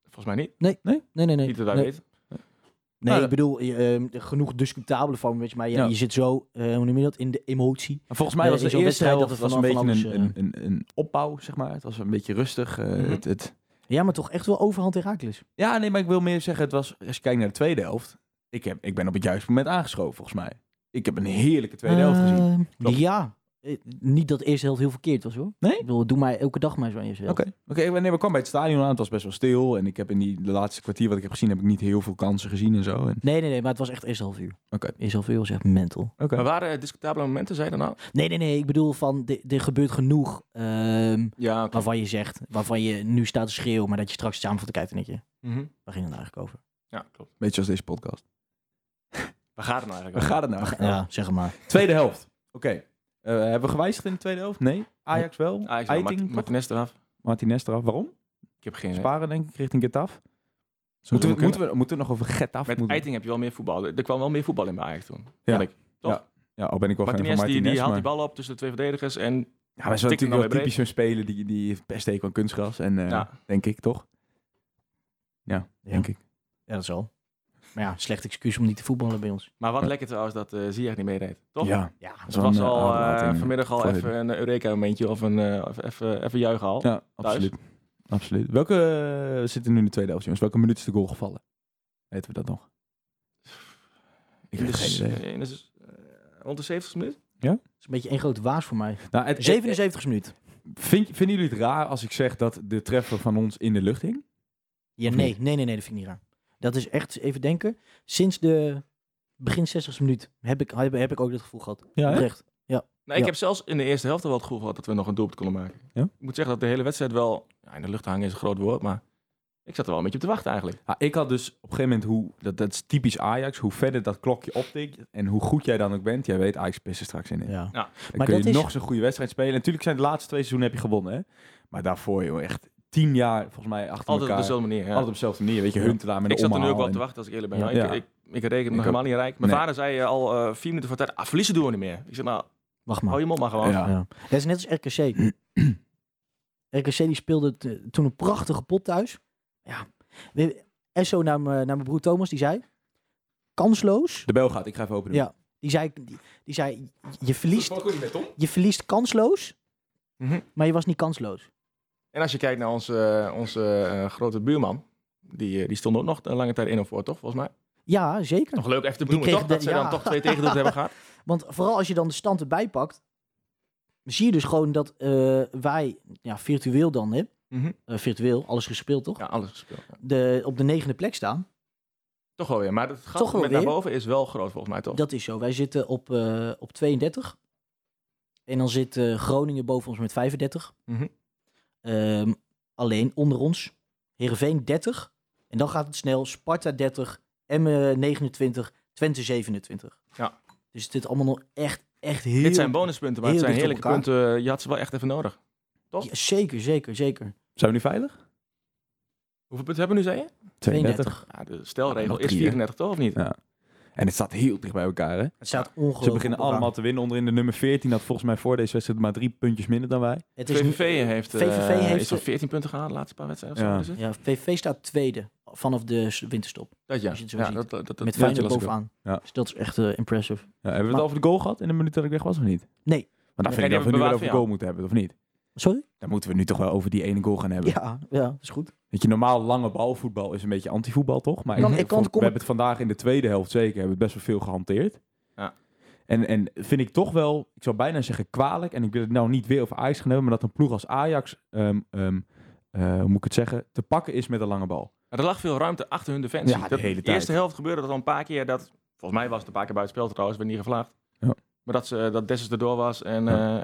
Speaker 6: Volgens mij niet.
Speaker 5: Nee, nee, nee.
Speaker 6: Niet dat wij
Speaker 5: nee.
Speaker 6: weten.
Speaker 5: Nee,
Speaker 4: Nou,
Speaker 5: ik bedoel, je, ehm, genoeg discutabele van, weet je, maar ja,
Speaker 4: Ja.
Speaker 5: je zit zo, eh, hoe noem je dat, in de emotie.
Speaker 4: En Volgens mij
Speaker 5: Nee,
Speaker 4: was
Speaker 5: in
Speaker 4: de
Speaker 5: zo'n
Speaker 4: eerste
Speaker 5: wedstrijd
Speaker 4: helft
Speaker 5: dat het eh, van
Speaker 4: was een beetje
Speaker 5: alles,
Speaker 4: een, een, een, een opbouw, zeg maar. Het was een beetje rustig. eh,
Speaker 6: Mhm.
Speaker 4: het, het...
Speaker 5: Ja, maar toch echt wel overhand Herakles.
Speaker 4: Ja, nee, maar ik wil meer zeggen, het was, als je kijkt naar de tweede helft... Ik, heb, ik ben op het juiste moment aangeschoven, volgens mij. Ik heb een heerlijke tweede helft gezien.
Speaker 5: Ehm,
Speaker 4: Klopt.
Speaker 5: Ja, Eh, niet dat de eerste helft heel verkeerd was hoor.
Speaker 4: Nee?
Speaker 5: Ik bedoel, doe maar elke dag maar zo aan jezelf.
Speaker 4: Oké, oké. ik ben- nee, maar ik kwam bij het stadion aan. Het was best wel stil. En ik heb in die de laatste kwartier wat ik heb gezien, heb ik niet heel veel kansen gezien en zo. En,
Speaker 5: Nee, nee, nee, maar het was echt eerste half uur.
Speaker 4: Oké.
Speaker 5: Eerste half uur was echt mental.
Speaker 4: oké.
Speaker 6: Maar waren er discutabele momenten, zei je nou? dan al?
Speaker 5: Nee, nee, nee, ik bedoel van, di- er gebeurt genoeg ehm,
Speaker 6: Ja, oké.
Speaker 5: waarvan je zegt, waarvan je nu staat te schreeuwen, maar dat je straks samen van te kijken, denk je,
Speaker 6: Mhm.
Speaker 5: waar ging het nou eigenlijk over?
Speaker 6: Ja, klopt.
Speaker 4: Beetje als deze podcast.
Speaker 6: Waar gaat het nou eigenlijk
Speaker 4: Waar
Speaker 6: over?
Speaker 4: gaat het nou?
Speaker 5: Ja, Oh, zeg het maar.
Speaker 4: Tweede helft. Oké. Eh, hebben we gewijzigd in de tweede helft? Nee. Ajax wel.
Speaker 6: Ajax,
Speaker 4: Eiting,
Speaker 6: Mart-
Speaker 4: toch?
Speaker 6: Martinez eraf.
Speaker 4: Martinez eraf. Waarom?
Speaker 6: Ik heb geen idee.
Speaker 4: Sparen denk ik richting Getafe. Moeten we,
Speaker 6: kunnen.
Speaker 4: moeten, we, moeten we nog over Getafe?
Speaker 6: Met
Speaker 4: moeten?
Speaker 6: Eiting heb je wel meer voetbal. Er er kwam wel meer voetbal in bij Ajax toen.
Speaker 4: Ja.
Speaker 6: vond ik.
Speaker 4: Ja, al ben ik wel fan van
Speaker 6: Martinez,
Speaker 4: Martinez.
Speaker 6: die, die haalt
Speaker 4: maar-
Speaker 6: die bal op tussen de twee verdedigers. En
Speaker 4: Ja, maar hij is wel
Speaker 6: Tikt hem
Speaker 4: natuurlijk wel
Speaker 6: dan
Speaker 4: typisch zo'n speler die, die heeft best steek aan kunstgras. En eh,
Speaker 6: Ja.
Speaker 4: denk ik, toch? Ja,
Speaker 5: Ja.
Speaker 4: denk ik.
Speaker 5: Ja, dat zal. Maar ja, slecht excuus om niet te voetballen bij ons.
Speaker 6: Maar wat lekker trouwens dat eh Ziyech niet meedeed. Toch?
Speaker 4: Ja.
Speaker 5: Ja,
Speaker 6: Het
Speaker 4: Zo'n,
Speaker 6: was
Speaker 4: eh,
Speaker 6: al eh,
Speaker 4: uitlating
Speaker 6: vanmiddag al
Speaker 4: voor
Speaker 6: even een Eureka-momentje of een, eh, of even, even juichen al.
Speaker 4: Ja, absoluut. Absoluut. Welke eh, we zitten nu in de tweede helft, jongens? Welke minuut is de goal gevallen? Weten we dat nog? Ik
Speaker 6: In
Speaker 4: heb
Speaker 6: de
Speaker 4: geen
Speaker 6: s-
Speaker 4: idee.
Speaker 6: in de s- eh, Rond de 70 minuut?
Speaker 5: is een beetje één grote waas voor mij.
Speaker 4: Nou, het,
Speaker 5: 77 minuut.
Speaker 4: Vind, vinden jullie het raar als ik zeg dat de treffer van ons in de lucht hing?
Speaker 5: Ja,
Speaker 4: Of
Speaker 5: nee,
Speaker 4: niet?
Speaker 5: nee, nee, nee, dat vind ik niet raar. Dat is echt, even denken, sinds de begin 60 minuut heb ik, heb, heb ik ook dat gevoel gehad.
Speaker 4: Ja, hè?
Speaker 5: Oprecht.
Speaker 6: Nee, ik
Speaker 5: Ja.
Speaker 6: heb zelfs in de eerste helft al wel het gevoel gehad dat we nog een doelpunt konden maken.
Speaker 4: Ja?
Speaker 6: Ik moet zeggen dat de hele wedstrijd wel... Ja, in de lucht hangen is een groot woord, maar ik zat er wel een beetje op te wachten eigenlijk.
Speaker 4: Ja, ik had dus op een gegeven moment hoe, dat, dat is typisch Ajax, hoe verder dat klokje optikt en hoe goed jij dan ook bent, jij weet Ajax pissen straks in.
Speaker 5: Ja.
Speaker 4: Dan
Speaker 5: maar
Speaker 4: kun
Speaker 5: dat
Speaker 4: je
Speaker 5: is-
Speaker 4: nog zo'n goede wedstrijd spelen. En natuurlijk zijn de laatste twee seizoenen heb je gewonnen, hè? Maar daarvoor, joh, echt tien jaar volgens mij achter
Speaker 6: Altijd op
Speaker 4: elkaar.
Speaker 6: dezelfde manier. ja.
Speaker 4: Altijd op dezelfde manier, weet je,
Speaker 5: Ja.
Speaker 4: Huntelaar met
Speaker 6: Ik
Speaker 4: een
Speaker 6: zat er nu ook
Speaker 4: omhaal
Speaker 6: wel op
Speaker 4: en-
Speaker 6: te wachten als ik eerlijk ben.
Speaker 5: Ja.
Speaker 6: hoor. Ik-
Speaker 4: Ja.
Speaker 6: Ik, ik, reken
Speaker 4: Ik
Speaker 6: nog
Speaker 4: ook.
Speaker 6: helemaal niet rijk. Mijn
Speaker 4: Nee.
Speaker 6: vader zei eh, al eh, vier minuten voor tijd, ah, verliezen doen we niet meer. Ik zeg nou,
Speaker 5: Wacht
Speaker 6: hou
Speaker 4: Oh,
Speaker 5: maar.
Speaker 6: je mond maar gewoon.
Speaker 4: Ja.
Speaker 5: Ja. Dat is net als RKC. RKC die speelde t- toen een prachtige pot thuis. Ja. We- Esso naar, mijn- naar mijn broer Thomas, die zei, kansloos.
Speaker 4: De bel gaat, ik ga even openen.
Speaker 5: Ja. Die zei, die, die zei je, verliest, je verliest kansloos,
Speaker 6: Mhm.
Speaker 5: maar je was niet kansloos.
Speaker 6: En als je kijkt naar onze, eh, onze eh, grote buurman, die, eh, die stond ook nog een lange tijd in of voor, toch? Volgens mij.
Speaker 5: Ja, zeker.
Speaker 6: Nog leuk even te benoemen,
Speaker 5: kreeg
Speaker 6: toch?
Speaker 5: de-
Speaker 6: Dat ze
Speaker 5: ja.
Speaker 6: dan toch twee tegendoelen hebben gehad.
Speaker 5: Want vooral als je dan de stand erbij pakt, zie je dus gewoon dat eh, wij, ja, virtueel dan, hè?
Speaker 6: Mhm.
Speaker 5: Eh, virtueel, alles gespeeld toch?
Speaker 6: Ja, alles gespeeld. ja.
Speaker 5: De, op de negende plek staan.
Speaker 6: Toch wel weer. Maar het gat
Speaker 5: Toch wel
Speaker 6: met
Speaker 5: weer.
Speaker 6: naar boven is wel groot, volgens mij, toch?
Speaker 5: Dat is zo. Wij zitten op, eh, op 32. En dan zit eh, Groningen boven ons met 35.
Speaker 6: Mhm.
Speaker 5: Ehm, alleen onder ons. Heerenveen 30. En dan gaat het snel. Sparta 30. Emmen 29. Twente 27.
Speaker 6: Ja.
Speaker 5: Dus het zit allemaal nog echt, echt heel...
Speaker 6: Dit zijn bonuspunten, maar het
Speaker 5: heel
Speaker 6: zijn
Speaker 5: dicht op
Speaker 6: heerlijke punten. eh, Je had ze wel echt even nodig. toch?
Speaker 5: Ja, zeker, zeker, zeker.
Speaker 4: Zijn we nu veilig?
Speaker 6: Hoeveel punten hebben we nu, zei je?
Speaker 5: 32.
Speaker 6: Ja, de stelregel
Speaker 4: Nog
Speaker 6: is
Speaker 4: drie, hè?
Speaker 6: 34, toch? Of niet?
Speaker 4: Ja. En het staat heel dicht bij elkaar, hè?
Speaker 5: Het staat ongelooflijk
Speaker 4: Ze beginnen
Speaker 5: op elkaar.
Speaker 4: allemaal te winnen. Onderin de nummer 14 had volgens mij voor deze wedstrijd maar drie puntjes minder dan wij.
Speaker 5: Het is nu-
Speaker 6: VVV heeft, eh
Speaker 5: VVV heeft-
Speaker 6: is al 14 punten gehaald de laatste paar wedstrijden. of zo,
Speaker 4: Ja.
Speaker 6: is het?
Speaker 5: Ja, VVV staat tweede vanaf de s- winterstop.
Speaker 6: Dat ja.
Speaker 5: Als je het zo
Speaker 6: Ja,
Speaker 5: ziet.
Speaker 6: dat, dat, dat,
Speaker 5: met
Speaker 6: dat-
Speaker 5: Feyenoord
Speaker 4: las ik ook.
Speaker 5: bovenaan.
Speaker 4: Ja.
Speaker 5: Dus dat is echt eh, impressive.
Speaker 4: Ja, hebben we
Speaker 5: Maar-
Speaker 4: het over de goal gehad in de minuut dat ik weg was of niet?
Speaker 5: Nee.
Speaker 4: Maar dan
Speaker 5: Nee.
Speaker 4: vind ik
Speaker 6: Nee,
Speaker 4: dat we nu
Speaker 6: die hebben
Speaker 4: wel
Speaker 6: we bewaard
Speaker 4: over de
Speaker 6: voor
Speaker 4: goal moeten hebben, of niet?
Speaker 5: Sorry?
Speaker 4: Dan moeten we nu toch wel over die ene goal gaan hebben.
Speaker 5: Ja, ja, dat is goed.
Speaker 4: Weet je, normaal lange balvoetbal is een beetje antivoetbal, toch? Maar
Speaker 5: Ik kan-
Speaker 4: ik
Speaker 5: ik kan het
Speaker 4: vond- we
Speaker 5: kom-
Speaker 4: hebben het vandaag in de tweede helft zeker hebben we het best wel veel gehanteerd.
Speaker 6: Ja.
Speaker 4: En, en vind ik toch wel, ik zou bijna zeggen kwalijk, en ik wil het nou niet weer over Ajax gaan hebben, maar dat een ploeg als Ajax, ehm, ehm, eh, hoe moet ik het zeggen, te pakken is met een lange bal.
Speaker 6: Maar er lag veel ruimte achter hun defensie.
Speaker 4: Ja, de
Speaker 6: Dat-
Speaker 4: hele
Speaker 6: De eerste
Speaker 4: tijd.
Speaker 6: helft gebeurde dat al een paar keer dat Volgens mij was het een paar keer buiten spel trouwens, werd niet gevlaagd.
Speaker 4: Ja.
Speaker 6: Maar dat, ze, eh, dat Dessus erdoor was en
Speaker 4: Ja.
Speaker 6: ja.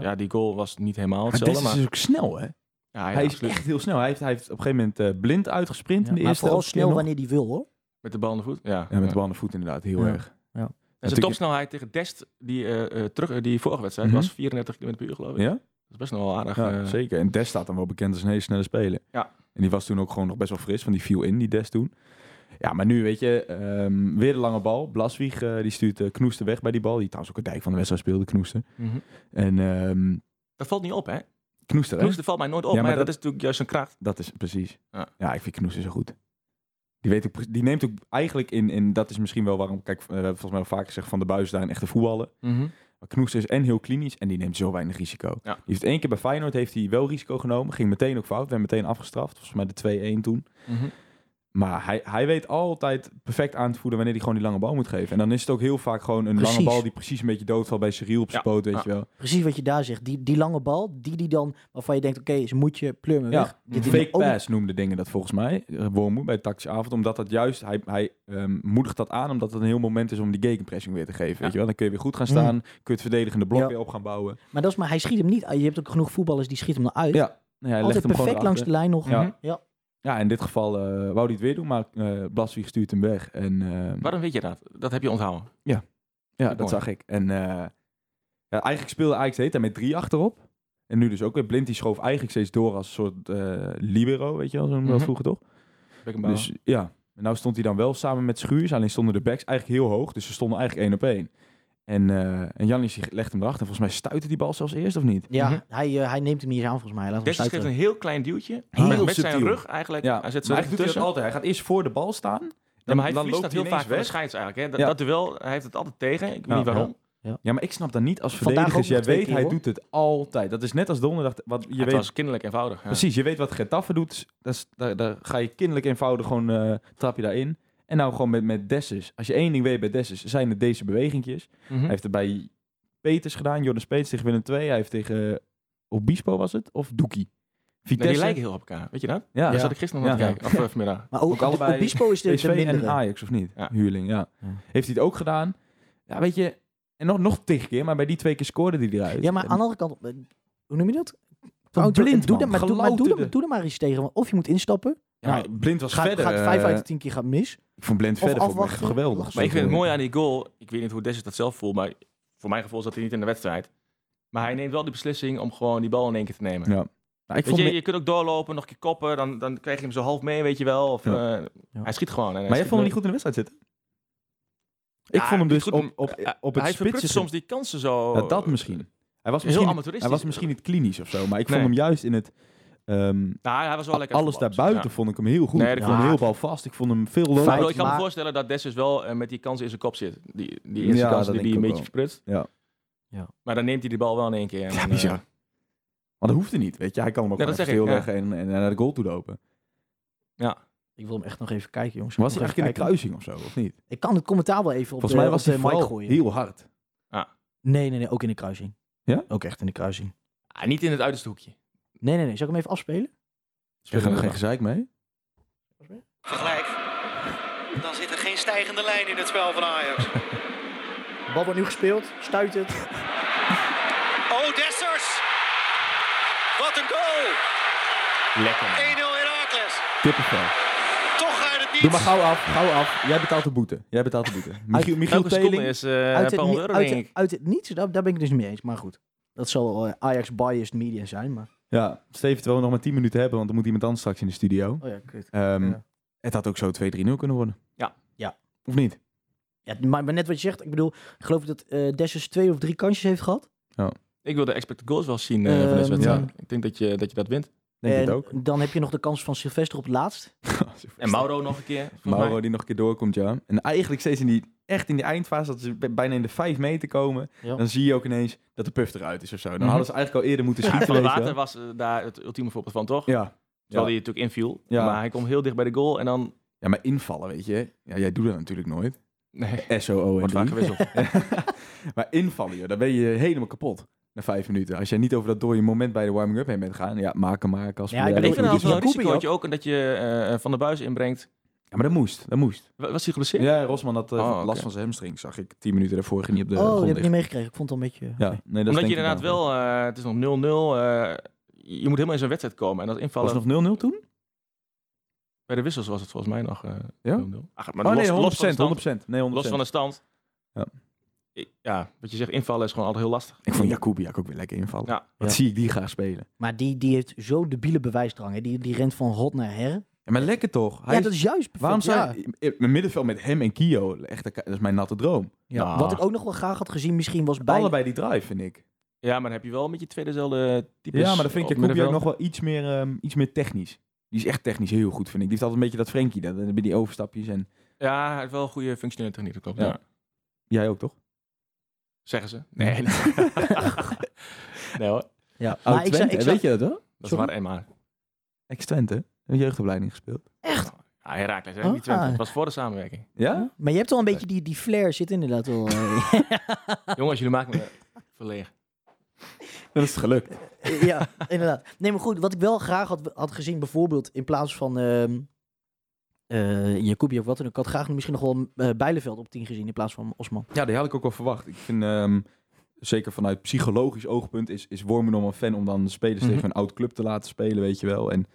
Speaker 6: ja. die goal was niet helemaal
Speaker 4: Maar
Speaker 6: hetzelfde.
Speaker 4: Dessus
Speaker 5: dus
Speaker 6: Maar,
Speaker 4: is ook snel, hè?
Speaker 6: ja, ja,
Speaker 4: hij is
Speaker 6: absoluut.
Speaker 4: echt heel snel. Hij heeft, hij heeft op een gegeven moment eh, blind uitgesprint in de
Speaker 5: Maar
Speaker 4: eerste
Speaker 5: vooral
Speaker 4: helft keer
Speaker 5: snel
Speaker 4: nog.
Speaker 5: wanneer die wil, hoor.
Speaker 6: Met de bal aan de voet. Ja,
Speaker 4: Ja, met de
Speaker 6: Ja.
Speaker 4: bal aan de voet inderdaad, heel
Speaker 5: Ja.
Speaker 4: erg.
Speaker 6: En zijn
Speaker 4: Natuurlijk-
Speaker 6: topsnelheid tegen Dest, die, eh, eh, terug, eh, die vorige wedstrijd,
Speaker 4: Mhm.
Speaker 6: was 34 km per uur, geloof ik.
Speaker 4: Ja?
Speaker 6: Dat is best nog wel aardig.
Speaker 4: Ja,
Speaker 6: eh,
Speaker 4: zeker. En Des staat dan wel bekend als een hele snelle speler.
Speaker 6: Ja.
Speaker 4: En die was toen ook gewoon nog best wel fris, want die viel in, die Des toen. Ja, maar nu weet je, ehm, weer de lange bal. Blaswieg, eh, die stuurt eh Knoester weg bij die bal. Die trouwens ook een dijk van de wedstrijd speelde, Knoester.
Speaker 6: mhm.
Speaker 4: En ehm
Speaker 6: Dat valt niet op, hè?
Speaker 4: Knoester, hè?
Speaker 6: Kloester valt mij nooit op,
Speaker 4: Ja,
Speaker 6: maar,
Speaker 4: maar
Speaker 6: ja, dat... is natuurlijk juist zijn kracht.
Speaker 4: Dat is precies. Ja,
Speaker 6: Ja.
Speaker 4: ik vind Knoester zo goed. Die, weet ook, pre- die neemt ook eigenlijk in, en dat is misschien wel waarom, kijk, eh, we hebben volgens mij al vaak gezegd van de buis daar een echte voetballer. Maar Knoester is en heel klinisch en die neemt zo weinig risico.
Speaker 6: Ja.
Speaker 4: Die heeft één keer bij Feyenoord heeft hij wel risico genomen. Ging meteen ook fout. Werd meteen afgestraft. Volgens mij de 2-1 toen.
Speaker 6: Mhm.
Speaker 4: Maar hij, hij weet altijd perfect aan te voeden wanneer hij gewoon die lange bal moet geven. En dan is het ook heel vaak gewoon een lange
Speaker 5: Precies.
Speaker 4: bal die precies een beetje doodvalt bij Cyril op zijn
Speaker 6: Ja,
Speaker 4: poot, weet
Speaker 6: ja.
Speaker 4: je wel.
Speaker 5: Precies wat je daar zegt. Die, die lange bal, die die dan, waarvan je denkt, oké, ze moet je pleumen
Speaker 4: Ja,
Speaker 5: weg. Dit is
Speaker 4: Fake
Speaker 5: ook-
Speaker 4: pass noemde dingen dat volgens mij. eh, Wormoed bij de tactische avond. Omdat dat juist, hij, hij ehm, moedigt dat aan omdat het een heel moment is om die gegenpressing weer te geven. Weet je wel? Dan kun je weer goed gaan staan. Kun je het verdedigende blok
Speaker 5: Mm. Ja.
Speaker 4: weer op gaan bouwen.
Speaker 5: Maar dat is maar, hij schiet hem niet uit. Je hebt ook genoeg voetballers die schieten hem eruit.
Speaker 4: Ja, Nou ja, hij legt
Speaker 5: Altijd
Speaker 4: hem gewoon
Speaker 5: perfect langs
Speaker 4: erachter.
Speaker 5: de lijn nog.
Speaker 4: Ja.
Speaker 5: ja.
Speaker 4: Ja, in dit geval eh, wou hij het weer doen, maar eh Blaswieg stuurt hem weg. En eh,
Speaker 6: Waarom weet je dat? Dat heb je onthouden.
Speaker 4: ja, dat
Speaker 6: mooi.
Speaker 4: zag ik. En eh, ja, eigenlijk speelde Ajax heet met drie achterop. En nu dus ook weer blind. Die schoof eigenlijk steeds door als een soort eh, libero, weet je wel, zo noemde dat
Speaker 6: Mhm.
Speaker 4: vroeger toch?
Speaker 6: Beckenbauer.
Speaker 4: Dus ja, en nou stond hij dan wel samen met Schuurs. Alleen stonden de backs eigenlijk heel hoog, dus ze stonden eigenlijk één op één. En, eh en Jannis die legt hem erachter. Volgens mij stuitte die bal zelfs eerst, of niet?
Speaker 5: Ja,
Speaker 6: Mhm.
Speaker 5: hij, eh, hij neemt hem niet eens aan volgens mij. Hij Laat hem
Speaker 6: Dessus geeft een
Speaker 5: stuiteren.
Speaker 6: heel klein duwtje.
Speaker 4: Heel
Speaker 6: met, met zijn
Speaker 4: subtiel.
Speaker 6: rug eigenlijk.
Speaker 4: Ja,
Speaker 6: Hij zet
Speaker 4: maar
Speaker 6: zijn
Speaker 4: eigenlijk
Speaker 6: rug
Speaker 4: doet hij dat
Speaker 6: ertussen.
Speaker 4: altijd. Hij gaat eerst voor de bal staan. Dan,
Speaker 6: Ja, maar hij
Speaker 4: dan
Speaker 6: verliest dat heel
Speaker 4: ineens
Speaker 6: vaak van de scheids eigenlijk. Hè? Dat,
Speaker 4: Ja.
Speaker 6: dat duel, hij heeft het altijd tegen. Ik weet
Speaker 4: Ja,
Speaker 6: niet waarom.
Speaker 4: Ja, maar ik snap dat niet als
Speaker 5: Vandaag ook
Speaker 4: verdedigers.
Speaker 5: nog
Speaker 4: Jij
Speaker 5: twee
Speaker 4: weet,
Speaker 5: keer,
Speaker 4: hij
Speaker 5: hoor.
Speaker 4: doet het altijd. Dat is net als donderdag. Wat, je
Speaker 6: het
Speaker 4: weet,
Speaker 6: was kinderlijk eenvoudig. Ja.
Speaker 4: Precies, je weet wat Getafe doet. Dat is, daar, daar ga je kinderlijk eenvoudig gewoon eh, trap je daarin. En nou gewoon met, met Dessus. Als je één ding weet bij Dessus, zijn het deze bewegingjes.
Speaker 5: Hm?
Speaker 6: Mhm.
Speaker 4: Hij heeft het bij Peters gedaan, Jordan Speets tegen Willem II. Hij heeft tegen eh, Obispo was het? Of Doekie?
Speaker 6: Nee,
Speaker 4: Vitesse.
Speaker 6: die lijken heel op elkaar. Weet je dat?
Speaker 4: ja,
Speaker 6: Daar
Speaker 4: ja.
Speaker 6: zat ik gisteren nog
Speaker 4: Ja.
Speaker 6: naar te kijken. Of eh, vanmiddag.
Speaker 5: Maar ook,
Speaker 4: Ook allebei
Speaker 5: Obispo is de, de
Speaker 4: PSV en
Speaker 5: mindere.
Speaker 4: Ajax, of niet?
Speaker 6: eh. Ja.
Speaker 4: Huurling, ja.
Speaker 5: Ja.
Speaker 4: Heeft hij het ook gedaan? Ja, weet je... En nog, nog tig keer, maar bij die twee keer scoorde hij eruit.
Speaker 5: Ja, maar
Speaker 4: En-
Speaker 5: aan de andere kant, eh, hoe noem je dat? eh,
Speaker 4: Een blind
Speaker 5: doe,
Speaker 4: man,
Speaker 5: er, maar, doe, maar, doe, er,
Speaker 4: gelouterde.
Speaker 5: doe er maar iets tegen. want Of je moet instappen.
Speaker 4: Ja, maar Blind was
Speaker 5: Gaat,
Speaker 4: verder.
Speaker 5: gaat vijf
Speaker 4: eh,
Speaker 5: uit de tien keer gaat mis.
Speaker 4: Ik vond Blind
Speaker 5: Of
Speaker 4: verder vond ik echt
Speaker 5: afwachten.
Speaker 4: geweldig.
Speaker 6: Maar ik vind het mooi aan die goal. Ik weet niet hoe Dessus dat zelf voelt. Maar voor mijn gevoel zat hij niet in de wedstrijd. Maar hij neemt wel die beslissing om gewoon die bal in één keer te nemen.
Speaker 4: Ja. Nou, ik
Speaker 6: Weet
Speaker 4: vond
Speaker 6: je,
Speaker 4: me-
Speaker 6: je kunt ook doorlopen, nog een keer koppen, dan, dan krijg je hem zo half mee, weet je wel. Of, eh,
Speaker 5: Ja.
Speaker 6: Hij schiet gewoon. en hij
Speaker 4: maar jij
Speaker 6: schiet
Speaker 4: vond hem niet
Speaker 6: nooit.
Speaker 4: goed in de wedstrijd zitten? Ik
Speaker 6: Ja,
Speaker 4: vond hem dus
Speaker 6: goed,
Speaker 4: op, op,
Speaker 6: eh,
Speaker 4: op het
Speaker 6: Hij
Speaker 4: spitsen...
Speaker 6: verprutst soms die kansen zo.
Speaker 4: Ja, dat misschien. Hij was
Speaker 6: Heel
Speaker 4: misschien,
Speaker 6: amateuristisch.
Speaker 4: hij was misschien niet klinisch of zo, maar ik vond
Speaker 6: Nee.
Speaker 4: hem juist in het... ehm,
Speaker 6: Nou, hij was wel lekker.
Speaker 4: alles
Speaker 6: voetballers.
Speaker 4: daarbuiten
Speaker 6: Ja.
Speaker 4: vond ik hem heel goed.
Speaker 6: Nee,
Speaker 4: ik
Speaker 6: dat
Speaker 5: klopt.
Speaker 4: vond hem heel balvast. Ik vond hem veel
Speaker 5: Fout.
Speaker 6: Maar ik
Speaker 4: loper.
Speaker 6: bedoel, ik kan me
Speaker 5: Maar-
Speaker 6: voorstellen dat Dessus wel eh, met die kansen in zijn kop zit. Die, die eerste
Speaker 4: Ja,
Speaker 6: kans
Speaker 4: dat denk
Speaker 6: die hij
Speaker 4: ik
Speaker 6: een
Speaker 4: ook
Speaker 6: beetje
Speaker 4: wel.
Speaker 6: verprutst.
Speaker 4: Ja.
Speaker 5: Ja.
Speaker 6: Maar dan neemt hij die bal wel in één keer. en dan, eh,
Speaker 4: Maar dat hoefde niet, weet je. Hij kan hem ook
Speaker 6: Ja,
Speaker 4: gewoon
Speaker 6: dat
Speaker 4: even
Speaker 6: zeg ik,
Speaker 4: stilleggen en, en naar de goal toe lopen.
Speaker 5: Ik wil hem echt nog even kijken, jongens.
Speaker 4: Was
Speaker 5: Ik
Speaker 4: hij
Speaker 5: wil
Speaker 4: eigenlijk
Speaker 5: even
Speaker 4: in de
Speaker 5: kijken.
Speaker 4: kruising of zo, of niet?
Speaker 5: Ik kan het commentaar wel even op
Speaker 4: Volgens
Speaker 5: de,
Speaker 4: mij
Speaker 5: op
Speaker 4: was
Speaker 5: de
Speaker 4: hij
Speaker 5: mic
Speaker 4: vooral
Speaker 5: gooien.
Speaker 4: heel hard.
Speaker 5: Nee, nee, nee. Ook in de kruising.
Speaker 4: Ja?
Speaker 5: Ook echt in de kruising.
Speaker 6: ah, niet in het uiterste hoekje.
Speaker 5: Nee, nee, nee. Zal ik hem even afspelen?
Speaker 4: Ik ga er geen gezeik mee.
Speaker 7: Gelijk. Dan zit er geen stijgende lijn in het spel van Ajax.
Speaker 5: De bal wordt nu gespeeld. Stuit het.
Speaker 4: Eh,
Speaker 7: Oh, Dessers! Wat een goal!
Speaker 6: Lekker.
Speaker 7: 1-0 Herakles.
Speaker 4: Kippenvel.
Speaker 7: Toch uit het
Speaker 4: Doe
Speaker 7: niets.
Speaker 4: maar gauw af, gauw af. Jij betaalt de boete. Jij betaalt de boete. Michiel, Michiel
Speaker 6: Elke seconde
Speaker 4: Teling.
Speaker 6: is eh,
Speaker 5: uit,
Speaker 6: een paar
Speaker 5: het, ni-
Speaker 6: honderd euro,
Speaker 5: uit,
Speaker 6: denk
Speaker 5: het,
Speaker 6: ik.
Speaker 5: uit het niets, daar, daar ben ik het dus niet mee eens. Maar goed, dat zal eh, Ajax-biased media zijn. Maar...
Speaker 4: Ja, Steven, terwijl we nog maar 10 minuten hebben, want dan moet iemand anders straks in de studio.
Speaker 5: Oh ja, kut.
Speaker 4: Ehm,
Speaker 5: Ja.
Speaker 4: Het had ook zo 2-3-0 kunnen worden.
Speaker 6: Ja.
Speaker 5: Ja.
Speaker 4: Of niet?
Speaker 5: Ja, maar maar net wat je zegt, ik bedoel, ik geloof dat eh Dessers twee of drie kansjes heeft gehad.
Speaker 6: Ik wil de expected goals wel zien eh, van
Speaker 5: Ehm,
Speaker 6: deze wedstrijd.
Speaker 5: ja.
Speaker 6: Ik denk dat je, dat je dat wint.
Speaker 4: Denk je
Speaker 5: en
Speaker 4: het ook?
Speaker 5: dan heb je nog de kans van Sylvester op het laatst.
Speaker 6: En Mauro nog een keer. volgens mij.
Speaker 4: Mauro die nog een keer doorkomt, ja. En eigenlijk steeds in die, echt in die eindfase, dat ze bij- bijna in de 5 meter komen.
Speaker 5: Ja.
Speaker 4: Dan zie je ook ineens dat de puff eruit is of zo. Dan
Speaker 6: Mhm.
Speaker 4: hadden ze eigenlijk al eerder moeten
Speaker 6: Ja,
Speaker 4: schieten.
Speaker 6: van de
Speaker 4: weet je wel.
Speaker 6: water was eh, daar het ultieme voorbeeld van, toch?
Speaker 4: Ja.
Speaker 6: Terwijl hij natuurlijk inviel.
Speaker 4: Ja.
Speaker 6: Maar hij kwam heel dicht bij de goal en dan...
Speaker 4: ja, maar invallen, weet je. Ja, jij doet dat natuurlijk nooit.
Speaker 6: Nee,
Speaker 4: SOO en
Speaker 6: wordt vaak
Speaker 4: drie.
Speaker 6: gewisseld.
Speaker 4: Maar invallen, joh, dan ben je helemaal kapot. Na vijf minuten. Als jij niet over dat dode moment bij de warming-up heen bent gaan, ja, maken maar, Casper.
Speaker 5: Ja, ik
Speaker 4: jij
Speaker 5: bedoel,
Speaker 6: ik
Speaker 4: weet
Speaker 6: vind het
Speaker 4: hoe
Speaker 5: die-
Speaker 6: altijd
Speaker 4: het
Speaker 6: wel
Speaker 4: is.
Speaker 5: die Jacobi
Speaker 6: een risicootje ook. En dat je eh, Van de Buis inbrengt.
Speaker 4: Ja, maar dat moest. Dat moest.
Speaker 6: Wa- Was hij geblesseerd?
Speaker 4: Ja, Rosman had eh,
Speaker 6: Oh,
Speaker 4: last
Speaker 6: oké.
Speaker 4: van zijn hamstring, zag ik. Tien minuten daarvoor ging hij op de
Speaker 5: oh, dat
Speaker 4: grond
Speaker 5: heb ik niet
Speaker 4: liggen.
Speaker 5: meegekregen. Ik vond het al een beetje...
Speaker 4: Ja, nee, dat
Speaker 6: Omdat
Speaker 4: denk
Speaker 6: je
Speaker 4: ik
Speaker 6: inderdaad
Speaker 4: wel.
Speaker 6: wel, eh, het is nog 0-0. eh, je moet helemaal in zo'n wedstrijd komen. En dat
Speaker 4: Was
Speaker 6: invallen
Speaker 4: het nog 0-0 toen? Oh,
Speaker 6: bij de wissels was het volgens mij nog eh 0-0.
Speaker 4: Ja?
Speaker 6: Ach, maar
Speaker 4: Oh
Speaker 6: los,
Speaker 4: nee, 100%.
Speaker 6: los van de stand,
Speaker 4: 100%. Nee, 100%.
Speaker 6: los van de stand.
Speaker 4: Ja.
Speaker 6: Ik- ja, wat je zegt, invallen is gewoon altijd heel lastig.
Speaker 4: Ik vond Jacobiak ook weer lekker invallen.
Speaker 6: Ja.
Speaker 4: Wat
Speaker 5: Ja.
Speaker 4: zie ik die graag spelen.
Speaker 5: Maar die, die heeft zo debiele bewijsdrang. Hè? Die, die rent van hot naar her.
Speaker 4: Ja, maar lekker toch? Hij
Speaker 5: ja,
Speaker 4: is-
Speaker 5: dat is juist perfect.
Speaker 4: Waarom zou
Speaker 5: ja.
Speaker 4: je... in- Mijn middenveld met hem en Kio, echt, dat is mijn natte droom.
Speaker 5: Ja,
Speaker 6: Nou.
Speaker 5: Wat ik ook nog wel graag had gezien misschien was bij...
Speaker 4: Allebei die drive, vind ik.
Speaker 6: Ja, maar dan heb je wel een beetje twee dezelfde types.
Speaker 4: Ja, maar dan vind ik
Speaker 6: op
Speaker 4: Jacobiak
Speaker 6: middenveld.
Speaker 4: nog Dus wel iets meer, ehm, iets meer technisch. Die is echt technisch heel goed, vind ik. Die heeft altijd een beetje dat Frenkie, dan dan heb je die overstapjes en...
Speaker 6: Ja, hij heeft wel een goede functionele techniek, dat klopt.
Speaker 4: Ja.
Speaker 6: Ja.
Speaker 4: Jij ook, toch?
Speaker 6: Zeggen ze. Nee. Nee, nee hoor,
Speaker 5: Ja. Maar
Speaker 4: Oud
Speaker 5: ik zou,
Speaker 4: Oh, Twente,
Speaker 5: ik
Speaker 4: hè?
Speaker 5: zou-
Speaker 4: weet je dat wel?
Speaker 6: dat is
Speaker 5: Sorry?
Speaker 6: maar en maar.
Speaker 4: Ex-Twente, een jeugdopleiding gespeeld.
Speaker 6: Ja, Herakles, hè?
Speaker 5: Ah.
Speaker 6: niet Twente. Het was voor de samenwerking.
Speaker 4: Ja?
Speaker 5: Maar je hebt al een beetje die, die flair zit inderdaad wel. eh,
Speaker 6: Jongens, jullie maken me verlegen.
Speaker 4: Dat is gelukt.
Speaker 5: ja, inderdaad. Nee, maar goed, wat ik wel graag had, had gezien, bijvoorbeeld in plaats van ehm eh Jacobi of wat dan ook, ik had graag misschien nog wel eh Bijleveld op 10 gezien in plaats van Osman.
Speaker 4: Ja, die had ik ook wel verwacht. Ik vind, ehm, zeker vanuit psychologisch oogpunt, is, is Wormenum een fan om dan spelers
Speaker 6: Mhm.
Speaker 4: tegen een oud club te laten spelen, weet je wel. En,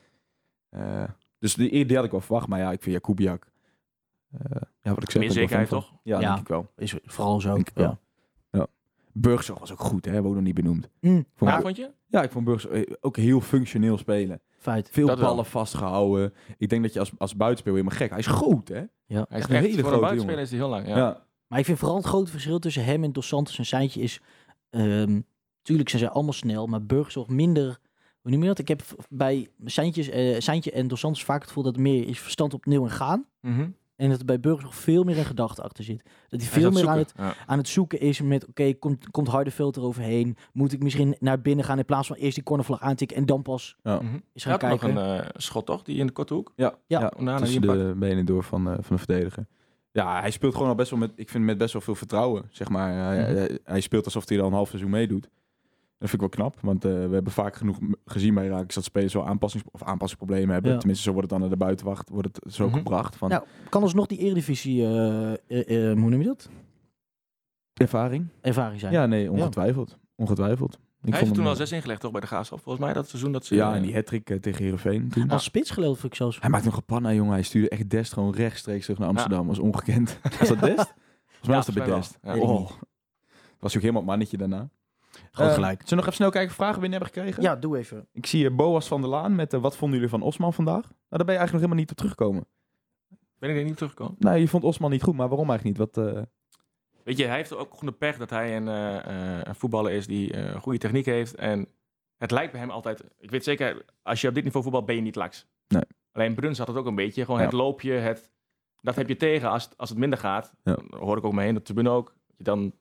Speaker 4: eh, dus die, die had ik wel verwacht, maar ja, ik vind Jakubiak. eh, ja, wat ik zeg.
Speaker 6: Meer
Speaker 4: ben ik wel fan
Speaker 6: zekerheid,
Speaker 4: van.
Speaker 6: toch?
Speaker 4: Ja,
Speaker 5: Ja.
Speaker 4: denk ik wel.
Speaker 5: Is vooral zo.
Speaker 4: Denk ik wel. Burgzorg was ook goed, hè? Hebben we ook nog niet benoemd.
Speaker 5: Mm,
Speaker 4: Vond
Speaker 6: Ja,
Speaker 4: ik-
Speaker 6: vond je?
Speaker 4: ja, ik vond Burgzorg eh, ook heel functioneel spelen.
Speaker 5: feit.
Speaker 4: Veel
Speaker 6: Dat wel.
Speaker 4: ballen vastgehouden. Ik denk dat je als, als buitenspeler helemaal gek. Hij is groot, hè?
Speaker 6: Hij is
Speaker 4: Echt een
Speaker 6: echt,
Speaker 4: hele
Speaker 6: voor
Speaker 4: grote
Speaker 6: een buitenspeler
Speaker 4: jongen.
Speaker 6: is hij heel lang. Ja.
Speaker 4: Ja.
Speaker 5: Maar ik vind vooral het grote verschil tussen hem en Dos Santos en Seintje is. ehm tuurlijk zijn zij allemaal snel, maar Burgzorg minder. Hoe noem je dat? Ik heb v- bij Seintjes, eh, Seintje en Dos Santos vaak het gevoel dat het meer is verstand opnieuw en gaan.
Speaker 6: Mhm.
Speaker 5: En dat er bij Burgers nog veel meer een gedachte achter zit. Dat hij
Speaker 6: Hij
Speaker 5: veel
Speaker 6: is
Speaker 5: meer
Speaker 6: aan
Speaker 5: aan
Speaker 6: het
Speaker 5: het,
Speaker 6: zoeken. Ja.
Speaker 5: aan het zoeken is met... oké, komt, komt harde filter overheen? Moet ik misschien naar binnen gaan in plaats van eerst die cornervlag aantikken... en dan pas
Speaker 6: Mhm.
Speaker 5: eens
Speaker 6: Hij
Speaker 5: gaan
Speaker 6: had nog
Speaker 5: kijken?
Speaker 6: een eh, schot, toch? Die in de korte hoek.
Speaker 4: Ja,
Speaker 5: Ja,
Speaker 4: ja,
Speaker 6: Onana
Speaker 4: tussen
Speaker 6: die hem
Speaker 4: de benen door van, eh, van de verdediger. Ja, hij speelt gewoon al best wel met, ik vind met best wel veel vertrouwen, zeg maar. Hij, hij- hij speelt alsof hij al een half seizoen meedoet. Dat vind ik wel knap, want eh, we hebben vaak genoeg m- gezien bij Raakjes dat spelers wel aanpassings of aanpassingsproblemen hebben.
Speaker 5: Ja.
Speaker 4: Tenminste, zo wordt het dan naar de buitenwacht, wordt het zo
Speaker 6: Mhm.
Speaker 4: gebracht van
Speaker 5: Nou, kan alsnog die eredivisie... eh, eh, eh, hoe noem je dat?
Speaker 4: ervaring.
Speaker 5: Ervaring zijn.
Speaker 4: Ja, nee, ongetwijfeld. Ongetwijfeld. Ik
Speaker 6: Hij heeft er
Speaker 4: hem,
Speaker 6: toen al
Speaker 4: eh,
Speaker 6: zes ingelegd, toch? Bij de Graafschap. Volgens mij dat seizoen dat ze...
Speaker 4: Ja, en die hat-trick eh, tegen Heerenveen toen.
Speaker 5: Als spits geloof ik zelfs.
Speaker 4: Hij maakt nog een panna, jongen. Hij stuurde echt Dest gewoon rechtstreeks terug naar Amsterdam. was ongekend. Was dat Dest? Volgens mij was dat bij
Speaker 6: volgens
Speaker 4: Dest.
Speaker 6: mij wel. Ja.
Speaker 4: oh. Was hij ook helemaal het mannetje daarna.
Speaker 5: Gewoon
Speaker 4: Eh,
Speaker 5: gelijk.
Speaker 4: Zullen we nog even snel kijken of vragen we binnen hebben gekregen?
Speaker 5: Ja, doe even.
Speaker 4: Ik zie eh, Boas van der Laan met eh, wat vonden jullie van Osman vandaag? Nou, daar ben je eigenlijk nog helemaal niet op teruggekomen.
Speaker 6: Ben ik er niet teruggekomen?
Speaker 4: Nou, je vond Osman niet goed, maar waarom eigenlijk niet? Wat, eh,
Speaker 6: Weet je, hij heeft ook gewoon de pech dat hij een, eh, eh, een voetballer is die eh, goede techniek heeft. En het lijkt bij hem altijd... Ik weet zeker, als je op dit niveau voetbalt, ben je niet laks.
Speaker 4: Nee.
Speaker 6: Alleen Bruns had het ook een beetje. Gewoon
Speaker 4: Ja.
Speaker 6: het loopje, het, dat heb je tegen als, het- als het minder gaat.
Speaker 4: Ja.
Speaker 6: Dan hoor ik ook om me heen, op de tribune ook. Je Dan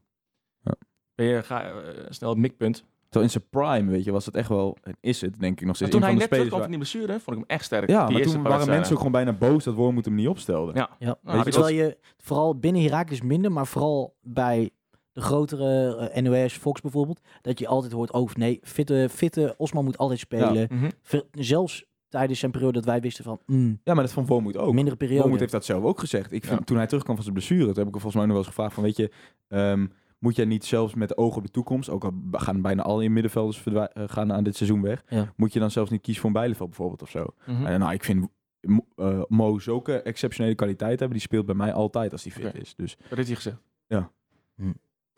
Speaker 4: Ja.
Speaker 6: ben je ga, eh, snel het mikpunt.
Speaker 4: terwijl in zijn prime, weet je, was het echt wel... en Is het, denk ik, nog
Speaker 6: Maar
Speaker 4: steeds
Speaker 6: toen
Speaker 4: een
Speaker 6: hij
Speaker 4: van
Speaker 6: net
Speaker 4: de spelers...
Speaker 6: terugkwam van die blessure, vond ik hem echt sterk.
Speaker 4: waar- Ja,
Speaker 6: Die
Speaker 4: maar
Speaker 6: eerste
Speaker 4: toen
Speaker 6: paar eh,
Speaker 4: waren mensen ook
Speaker 6: wedstrijden.
Speaker 4: gewoon bijna boos dat Wormoed hem niet opstelde.
Speaker 6: Ja.
Speaker 5: Ja.
Speaker 6: Nou,
Speaker 4: je,
Speaker 5: Terwijl je vooral binnen Herakles minder, maar vooral bij de grotere eh, NOS, Fox bijvoorbeeld... dat je altijd hoort, oh nee, fitte, fitte Osman moet altijd spelen.
Speaker 6: Mhm.
Speaker 5: Ver- zelfs tijdens zijn periode dat wij wisten van mm,
Speaker 4: Ja, maar dat vond Wormoed ook.
Speaker 5: mindere periode.
Speaker 4: Wormoed heeft dat zelf ook gezegd. Ik vind,
Speaker 6: Ja.
Speaker 4: Toen hij terugkwam van zijn blessure, toen heb ik hem volgens mij nog wel eens gevraagd van, weet je, ehm, moet jij niet zelfs met de ogen op de toekomst, ook al b- gaan bijna al je middenvelders verdwij- eh, gaan aan dit seizoen weg,
Speaker 5: Ja. Hm.
Speaker 4: moet je dan zelfs niet kiezen voor een Bijleveld bijvoorbeeld of zo?
Speaker 6: Mhm.
Speaker 4: En, nou, ik vind Mo- eh, Mo zulke exceptionele kwaliteit hebben, die speelt bij mij altijd als hij fit
Speaker 6: Oké.
Speaker 4: is. Dus,
Speaker 6: Dat heeft hij gezegd.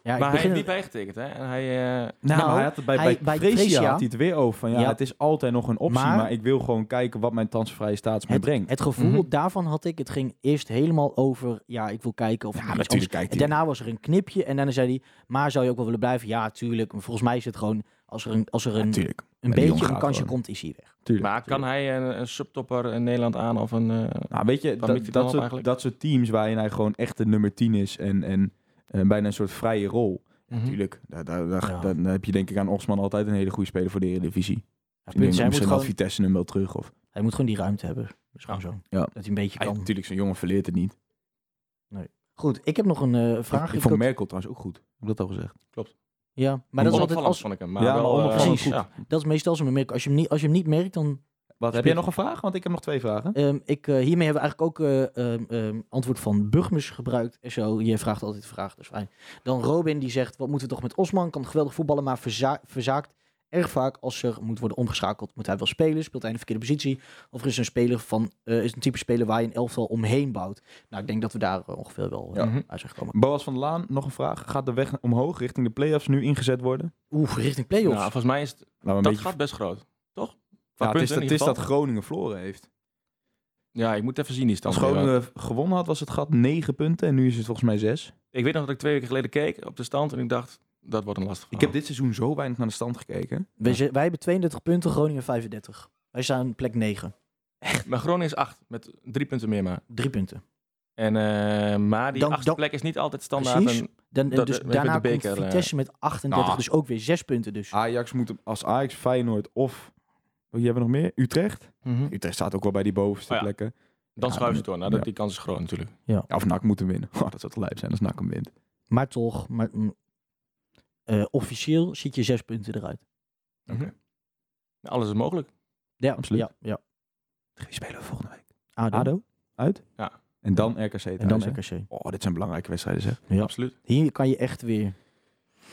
Speaker 5: Ja, ik
Speaker 6: maar hij
Speaker 5: begin
Speaker 6: heeft niet
Speaker 5: er-
Speaker 6: bijgetekend, hè? En hij... eh,
Speaker 4: nou,
Speaker 5: maar
Speaker 4: hij had het bij,
Speaker 5: hij- bij
Speaker 4: bij Fresia
Speaker 5: Fresia-
Speaker 4: had hij het weer over van, ja,
Speaker 5: Ja.
Speaker 4: het is altijd nog een optie, maar,
Speaker 5: Maar-
Speaker 4: ik wil gewoon kijken wat mijn transvrije status mij
Speaker 5: het,
Speaker 4: brengt.
Speaker 5: het gevoel
Speaker 6: Mhm.
Speaker 5: daarvan had ik. Het ging eerst helemaal over, ja, ik wil kijken of ik
Speaker 4: ja,
Speaker 5: iets
Speaker 4: natuurlijk
Speaker 5: anders-
Speaker 4: kijkt
Speaker 5: En
Speaker 4: hij.
Speaker 5: daarna was er een knipje en daarna zei hij, maar zou je ook wel willen blijven? Ja, tuurlijk. Maar volgens mij is het gewoon, als er een, als er een,
Speaker 4: Natuurlijk.
Speaker 5: een
Speaker 4: die jongen
Speaker 5: beetje een
Speaker 4: gaat
Speaker 5: kansje
Speaker 4: gewoon.
Speaker 5: komt, is hij weg.
Speaker 4: Tuurlijk.
Speaker 6: Maar kan hij eh, een, een subtopper in Nederland aan of een... eh,
Speaker 4: Nou, weet je,
Speaker 6: Dan
Speaker 4: dat,
Speaker 6: mikt hij het
Speaker 4: dat,
Speaker 6: wel op
Speaker 4: soort,
Speaker 6: eigenlijk.
Speaker 4: dat soort teams waarin hij gewoon echt de nummer 10 is en, en eh, bijna een soort vrije rol.
Speaker 6: natuurlijk.
Speaker 4: Natuurlijk, daar, daar, daar,
Speaker 5: Ja.
Speaker 4: daar- daar heb je denk ik aan Osman altijd een hele goede speler voor de Eredivisie.
Speaker 5: Ja,
Speaker 4: Ik
Speaker 5: punt,
Speaker 4: denk dat
Speaker 5: hij, moet
Speaker 4: misschien had
Speaker 5: gewoon,
Speaker 4: Vitesse hem wel terug. Of,
Speaker 5: hij moet gewoon die ruimte hebben. Dat is gewoon zo.
Speaker 4: Ja.
Speaker 5: Dat hij een beetje
Speaker 4: hij,
Speaker 5: kan.
Speaker 4: natuurlijk, zo'n jongen verleert het niet.
Speaker 5: Goed, ik heb nog een eh, vraag.
Speaker 4: ik, ik
Speaker 5: Ik
Speaker 4: vond
Speaker 5: had-
Speaker 4: Merkel trouwens ook goed. Heb ik dat al gezegd?
Speaker 5: ja, maar dat is altijd als,
Speaker 6: vond ik hem. Maar
Speaker 4: ja,
Speaker 6: wel,
Speaker 4: maar
Speaker 6: eh,
Speaker 4: onopvallend
Speaker 5: precies.
Speaker 4: goed.
Speaker 5: dat is meestal zo'n merk. Als je hem niet, als je hem niet merkt, dan
Speaker 4: Wat, heb jij nog een vraag? Want ik heb nog twee vragen.
Speaker 5: Ehm, ik, eh, hiermee hebben we eigenlijk ook eh, ehm, ehm, antwoord van Burgmus gebruikt. En zo, je vraagt altijd de vraag, dus fijn. Dan Robin die zegt, wat moeten we toch met Osman? Kan geweldig voetballen, maar verza- verzaakt erg vaak als er moet worden omgeschakeld. Moet hij wel spelen? Speelt hij in de verkeerde positie? Of is een speler van, eh, is een type speler waar je een elftal omheen bouwt? Nou, ik denk dat we daar eh, ongeveer wel eh,
Speaker 4: Mhm.
Speaker 6: Ja.
Speaker 5: uit zijn gekomen.
Speaker 4: Boas van der Laan, nog een vraag. Gaat de weg omhoog richting de play-offs nu ingezet worden?
Speaker 5: Oeh, richting play-offs.
Speaker 6: Nou, volgens mij is het,
Speaker 4: Laten we een
Speaker 6: dat
Speaker 4: beetje...
Speaker 6: gat best groot, toch? Qua
Speaker 4: Ja, het is,
Speaker 6: punten
Speaker 4: dat,
Speaker 6: in
Speaker 4: het
Speaker 6: ieder
Speaker 4: is dat
Speaker 6: geval.
Speaker 4: Groningen verloren heeft.
Speaker 6: Ja, ik moet even zien die stand.
Speaker 4: Als Groningen gewonnen had, was het gat 9 punten en nu is het volgens mij 6.
Speaker 6: Ik weet nog dat ik twee weken geleden keek op de stand en ik dacht, dat wordt een lastig
Speaker 4: Ik heb dit seizoen zo weinig naar de stand gekeken.
Speaker 5: We zi- wij hebben 32 punten, Groningen 35. Wij staan plek 9.
Speaker 6: Maar Groningen is acht, met drie punten meer maar.
Speaker 5: Drie punten.
Speaker 6: En, eh, maar die
Speaker 5: Dan-
Speaker 6: achtste
Speaker 5: dan-
Speaker 6: plek is niet altijd standaard.
Speaker 5: Precies.
Speaker 6: een-
Speaker 5: Dan, dus
Speaker 6: Dat- we hebben
Speaker 5: daarna
Speaker 6: de
Speaker 5: komt
Speaker 6: beker, eh,
Speaker 5: Vitesse met 38,
Speaker 6: nou.
Speaker 5: dus ook weer zes punten dus.
Speaker 4: Ajax moet hem- als Ajax, Feyenoord of... Oh, hier hebben we nog meer? Utrecht?
Speaker 6: Mhm.
Speaker 4: Utrecht staat ook wel bij die bovenste
Speaker 6: Oh ja.
Speaker 4: plekken.
Speaker 6: Dan
Speaker 4: Ja,
Speaker 6: schuiven ze
Speaker 4: dan-
Speaker 6: door. Nou, dat,
Speaker 4: ja.
Speaker 6: die kans is groot natuurlijk.
Speaker 4: Ja, of NAC moet hem winnen. Oh, dat zou te lijp zijn als NAC hem wint.
Speaker 5: Maar toch, maar, mm, eh, officieel ziet je zes punten eruit.
Speaker 6: Nou, Alles is mogelijk.
Speaker 5: Ja,
Speaker 4: Absoluut.
Speaker 5: Ja, ja.
Speaker 4: Wie spelen we volgende week?
Speaker 5: ADO.
Speaker 4: ADO? Uit?
Speaker 6: Ja.
Speaker 4: En dan RKC thuis,
Speaker 5: En dan
Speaker 4: hè?
Speaker 5: RKC.
Speaker 4: Oh, dit zijn belangrijke wedstrijden zeg.
Speaker 5: Ja.
Speaker 6: Absoluut.
Speaker 5: Hier kan je echt weer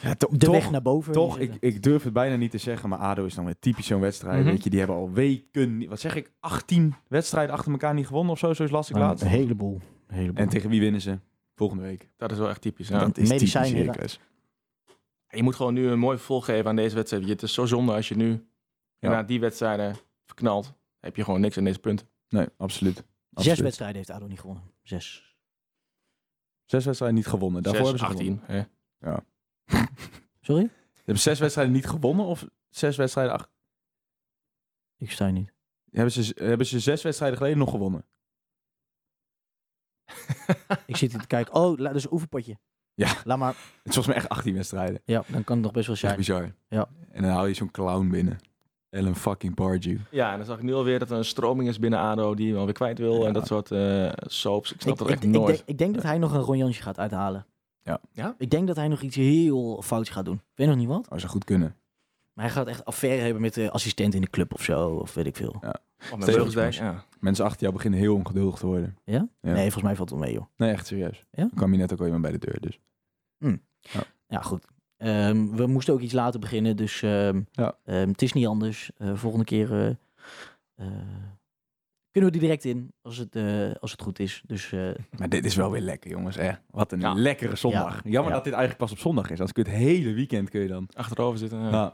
Speaker 4: Ja,
Speaker 5: de weg naar boven.
Speaker 4: Toch, ik,
Speaker 5: inzetten.
Speaker 4: ik durf het bijna niet te zeggen, maar ADO is dan weer typisch zo'n wedstrijd.
Speaker 6: Mhm.
Speaker 4: Weet je, die hebben al weken, niet- wat zeg ik, 18 wedstrijden achter elkaar niet gewonnen of zo, zo is lastig
Speaker 5: Maar
Speaker 4: laat.
Speaker 5: Ah, Een heleboel. Een heleboel.
Speaker 4: En tegen wie winnen ze? Volgende week.
Speaker 6: Dat is wel echt typisch. Ja.
Speaker 4: Dat is typisch
Speaker 5: Medicijn, ja.
Speaker 4: Heracles.
Speaker 6: Je moet gewoon nu een mooi vervolg geven aan deze wedstrijd. Het is zo zonde als je nu
Speaker 4: Ja.
Speaker 6: na die wedstrijden verknalt. Heb je gewoon niks aan deze punten.
Speaker 4: Nee, absoluut.
Speaker 5: zes
Speaker 4: Absoluut.
Speaker 5: wedstrijden heeft ADO niet gewonnen. Zes.
Speaker 4: Zes wedstrijden niet gewonnen. Daarvoor
Speaker 6: Zes,
Speaker 4: hebben ze
Speaker 6: 18.
Speaker 4: gewonnen.
Speaker 6: Hè.
Speaker 5: Sorry?
Speaker 4: Ze hebben zes wedstrijden niet gewonnen of zes wedstrijden ach-
Speaker 5: Ik sta niet.
Speaker 4: Hebben ze, hebben ze zes wedstrijden geleden nog gewonnen?
Speaker 5: Ik zit hier te kijken. Oh, la- dat is een oefenpotje.
Speaker 4: Ja.
Speaker 5: Laat maar.
Speaker 4: Het is volgens mij echt 18 wedstrijden.
Speaker 5: Ja, dan kan het nog best wel
Speaker 4: Echt
Speaker 5: zijn.
Speaker 4: bizar.
Speaker 5: Ja.
Speaker 4: En dan hou je zo'n clown binnen. Ellen fucking Pardew.
Speaker 6: Ja, en dan zag ik nu alweer dat er een stroming is binnen ADO die hem alweer kwijt wil.
Speaker 4: Ja.
Speaker 6: En dat soort eh, soaps. Ik snap
Speaker 5: Ik,
Speaker 6: dat
Speaker 5: ik,
Speaker 6: echt
Speaker 5: ik
Speaker 6: nooit.
Speaker 5: denk, ik denk dat hij nog een ronjantje gaat uithalen.
Speaker 4: Ja.
Speaker 6: Ja?
Speaker 5: Ik denk dat hij nog iets heel fouts gaat doen. Ik weet nog niet wat.
Speaker 4: Oh, zou goed kunnen.
Speaker 5: Maar hij gaat echt affaire hebben met de assistent in de club of zo. Of weet ik veel.
Speaker 6: Oh, met
Speaker 4: Steven
Speaker 6: Beugelsdijk, ja.
Speaker 4: Mensen achter jou beginnen heel ongeduldig te worden. Ja.
Speaker 5: Nee, volgens mij valt het wel mee, joh.
Speaker 4: Nee, echt serieus.
Speaker 5: Ja?
Speaker 4: Dan kwam je net ook al iemand bij de deur, dus.
Speaker 5: Ja, goed. Ehm, we moesten ook iets later beginnen, dus ehm,
Speaker 4: Ja.
Speaker 5: ehm, het is niet anders. Eh, volgende keer eh, eh, kunnen we die direct in, als het, eh, als het goed is. Dus eh,
Speaker 4: Maar dit is wel weer lekker, jongens. Hè? Wat een
Speaker 6: Ja.
Speaker 4: lekkere zondag. Jammer
Speaker 5: Ja.
Speaker 4: dat dit eigenlijk pas op zondag is. Als ik het hele weekend kun je dan.
Speaker 6: Achterover zitten. ja.
Speaker 4: Nou,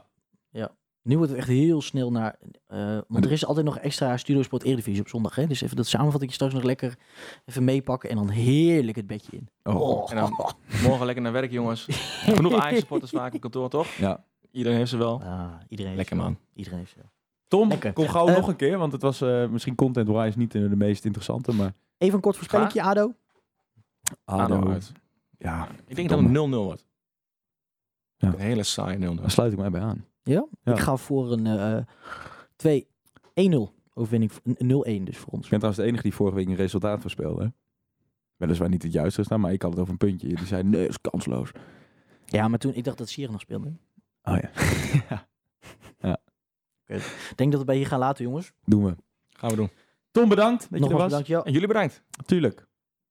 Speaker 5: nu wordt het echt heel snel naar... eh, want er is altijd nog extra Studio Sport Eredivisie op zondag, hè? Dus even dat samenvatting straks nog lekker even meepakken en dan heerlijk het bedje in.
Speaker 4: oh.
Speaker 6: En dan morgen lekker naar werk, jongens. Genoeg Ajax-supporters vaak op kantoor, toch?
Speaker 4: Ja.
Speaker 6: Iedereen heeft ze wel.
Speaker 5: Ah, iedereen
Speaker 6: Lekker,
Speaker 5: heeft-
Speaker 6: man.
Speaker 5: Iedereen heeft wel.
Speaker 4: Tom,
Speaker 5: Lekker.
Speaker 4: kom gauw
Speaker 5: Eh,
Speaker 4: nog een keer, want het was eh, misschien content-wise niet eh, de meest interessante, maar...
Speaker 5: Even een kort voorspellingje, Ado.
Speaker 6: ADO uit.
Speaker 4: Ja,
Speaker 6: Ik denk dat het 0-0 wordt.
Speaker 4: Ja.
Speaker 6: Een hele saaie 0-0.
Speaker 4: daar sluit ik mij bij aan. Ja.
Speaker 5: Ik ga voor een eh, 2 1-0 overwinning. voor- een 0-1 dus voor ons.
Speaker 4: Ik ben trouwens de enige die vorige week een resultaat voorspelde. hè. Weliswaar niet het juiste staan, maar ik had het over een puntje. Die zei, nee, is kansloos.
Speaker 5: Ja, maar toen ik dacht dat Sierra nog speelde.
Speaker 4: Oh ja. ja,
Speaker 5: Ik denk dat we bij hier gaan laten, jongens.
Speaker 4: doen we.
Speaker 6: Gaan we doen.
Speaker 4: Tom, bedankt dat je
Speaker 5: Nogmaals
Speaker 4: er was.
Speaker 5: bedankt, ja.
Speaker 6: En jullie bedankt.
Speaker 4: Tuurlijk.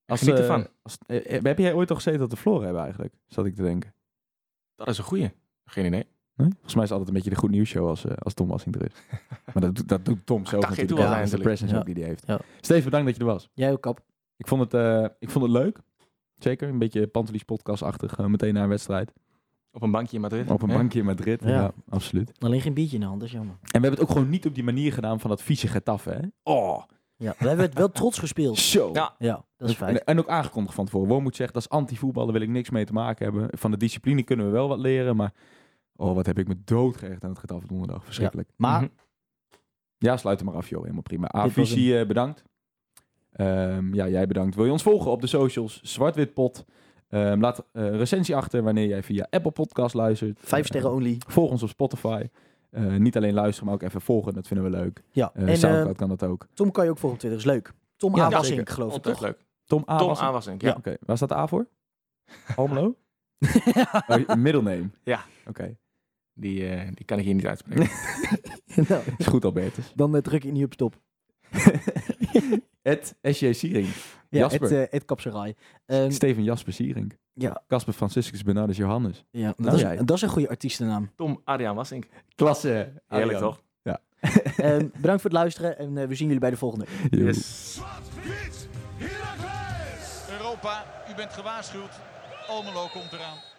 Speaker 6: Geniet
Speaker 4: eh,
Speaker 6: ervan.
Speaker 4: Als, eh, eh, heb jij ooit al gezeten dat de Floren hebben eigenlijk? Zat ik te denken.
Speaker 6: Dat is een goeie. Geen idee.
Speaker 4: Nee? Volgens mij is het altijd een beetje de goed nieuws show als, eh, als Tom Wassing er is. maar dat, doet- dat doet Tom zelf
Speaker 6: dacht je
Speaker 4: natuurlijk.
Speaker 6: toen al
Speaker 4: Ja, dat is de
Speaker 6: eindelijk.
Speaker 4: presence
Speaker 5: Ja.
Speaker 4: ook die hij heeft.
Speaker 5: Ja.
Speaker 4: Steven, bedankt dat je er was.
Speaker 5: Jij ook, kap.
Speaker 4: Ik vond het, eh, ik vond het leuk. Zeker, een beetje Pantelis podcast-achtig. eh, meteen na een wedstrijd.
Speaker 6: Op een bankje in Madrid.
Speaker 4: Op een
Speaker 6: hè?
Speaker 4: bankje in Madrid. Ja.
Speaker 5: Ja.
Speaker 4: absoluut.
Speaker 5: Alleen geen biertje in de hand, dat is jammer.
Speaker 4: En we hebben het ook gewoon niet op die manier gedaan van dat vieze getaf, hè? Oh,
Speaker 5: Ja, we hebben het wel trots gespeeld.
Speaker 4: zo.
Speaker 6: Ja.
Speaker 5: Ja, dat is fijn.
Speaker 4: En, en ook aangekondigd van tevoren. Woon moet zeggen, dat is anti-voetballen, wil ik niks mee te maken hebben. Van de discipline kunnen we wel wat leren, maar... Oh, wat heb ik me doodgerecht aan het getaf donderdag. Verschrikkelijk.
Speaker 5: Maar
Speaker 6: Mhm.
Speaker 4: Ja, sluit hem maar af, joh. Helemaal prima.
Speaker 5: Dit was
Speaker 4: Avisie, eh, bedankt. Ehm, ja, jij bedankt. Wil je ons volgen op de socials? Zwartwitpot. Ehm laat eh, een recensie achter wanneer jij via Apple Podcast luistert.
Speaker 5: vijf
Speaker 4: Eh,
Speaker 5: sterren only.
Speaker 4: volg ons op Spotify. Eh, niet alleen luisteren, maar ook even volgen. Dat vinden we leuk.
Speaker 5: Ja,
Speaker 4: Eh
Speaker 5: en
Speaker 4: Soundcloud
Speaker 5: eh,
Speaker 4: kan dat ook.
Speaker 5: Tom kan je ook volgen op Twitter, is leuk. Tom
Speaker 4: Ja,
Speaker 5: ja,
Speaker 6: zeker.
Speaker 5: geloof ik,
Speaker 6: Altijd
Speaker 5: toch?
Speaker 6: leuk.
Speaker 4: Tom A.
Speaker 6: Tom
Speaker 4: was het?
Speaker 6: Aanwassink, ja.
Speaker 4: Oké, waar staat A voor? Almelo? oh, je- middle name?
Speaker 6: Ja.
Speaker 4: Oké.
Speaker 6: Die, eh, die kan ik hier niet uitspreken.
Speaker 5: Nou,
Speaker 4: Is goed, Albertus.
Speaker 5: dan eh, druk je niet op stop.
Speaker 4: Ed S.J. Siering.
Speaker 5: Ja,
Speaker 4: Jasper.
Speaker 5: het, eh het kapserai. Ehm,
Speaker 4: Steven Jasper Siering.
Speaker 5: Ja.
Speaker 4: Casper Franciscus Bernardus Johannes.
Speaker 5: ja,
Speaker 4: nou
Speaker 5: dat, is,
Speaker 4: jij.
Speaker 5: dat is een goede artiestennaam.
Speaker 6: Tom Adriaan Wassink.
Speaker 4: Klasse.
Speaker 6: Heerlijk toch?
Speaker 5: Ehm, bedankt voor het luisteren en eh, we zien jullie bij de volgende.
Speaker 1: Zwart-wit, Heracles!
Speaker 2: Europa, u bent gewaarschuwd. Almelo komt eraan.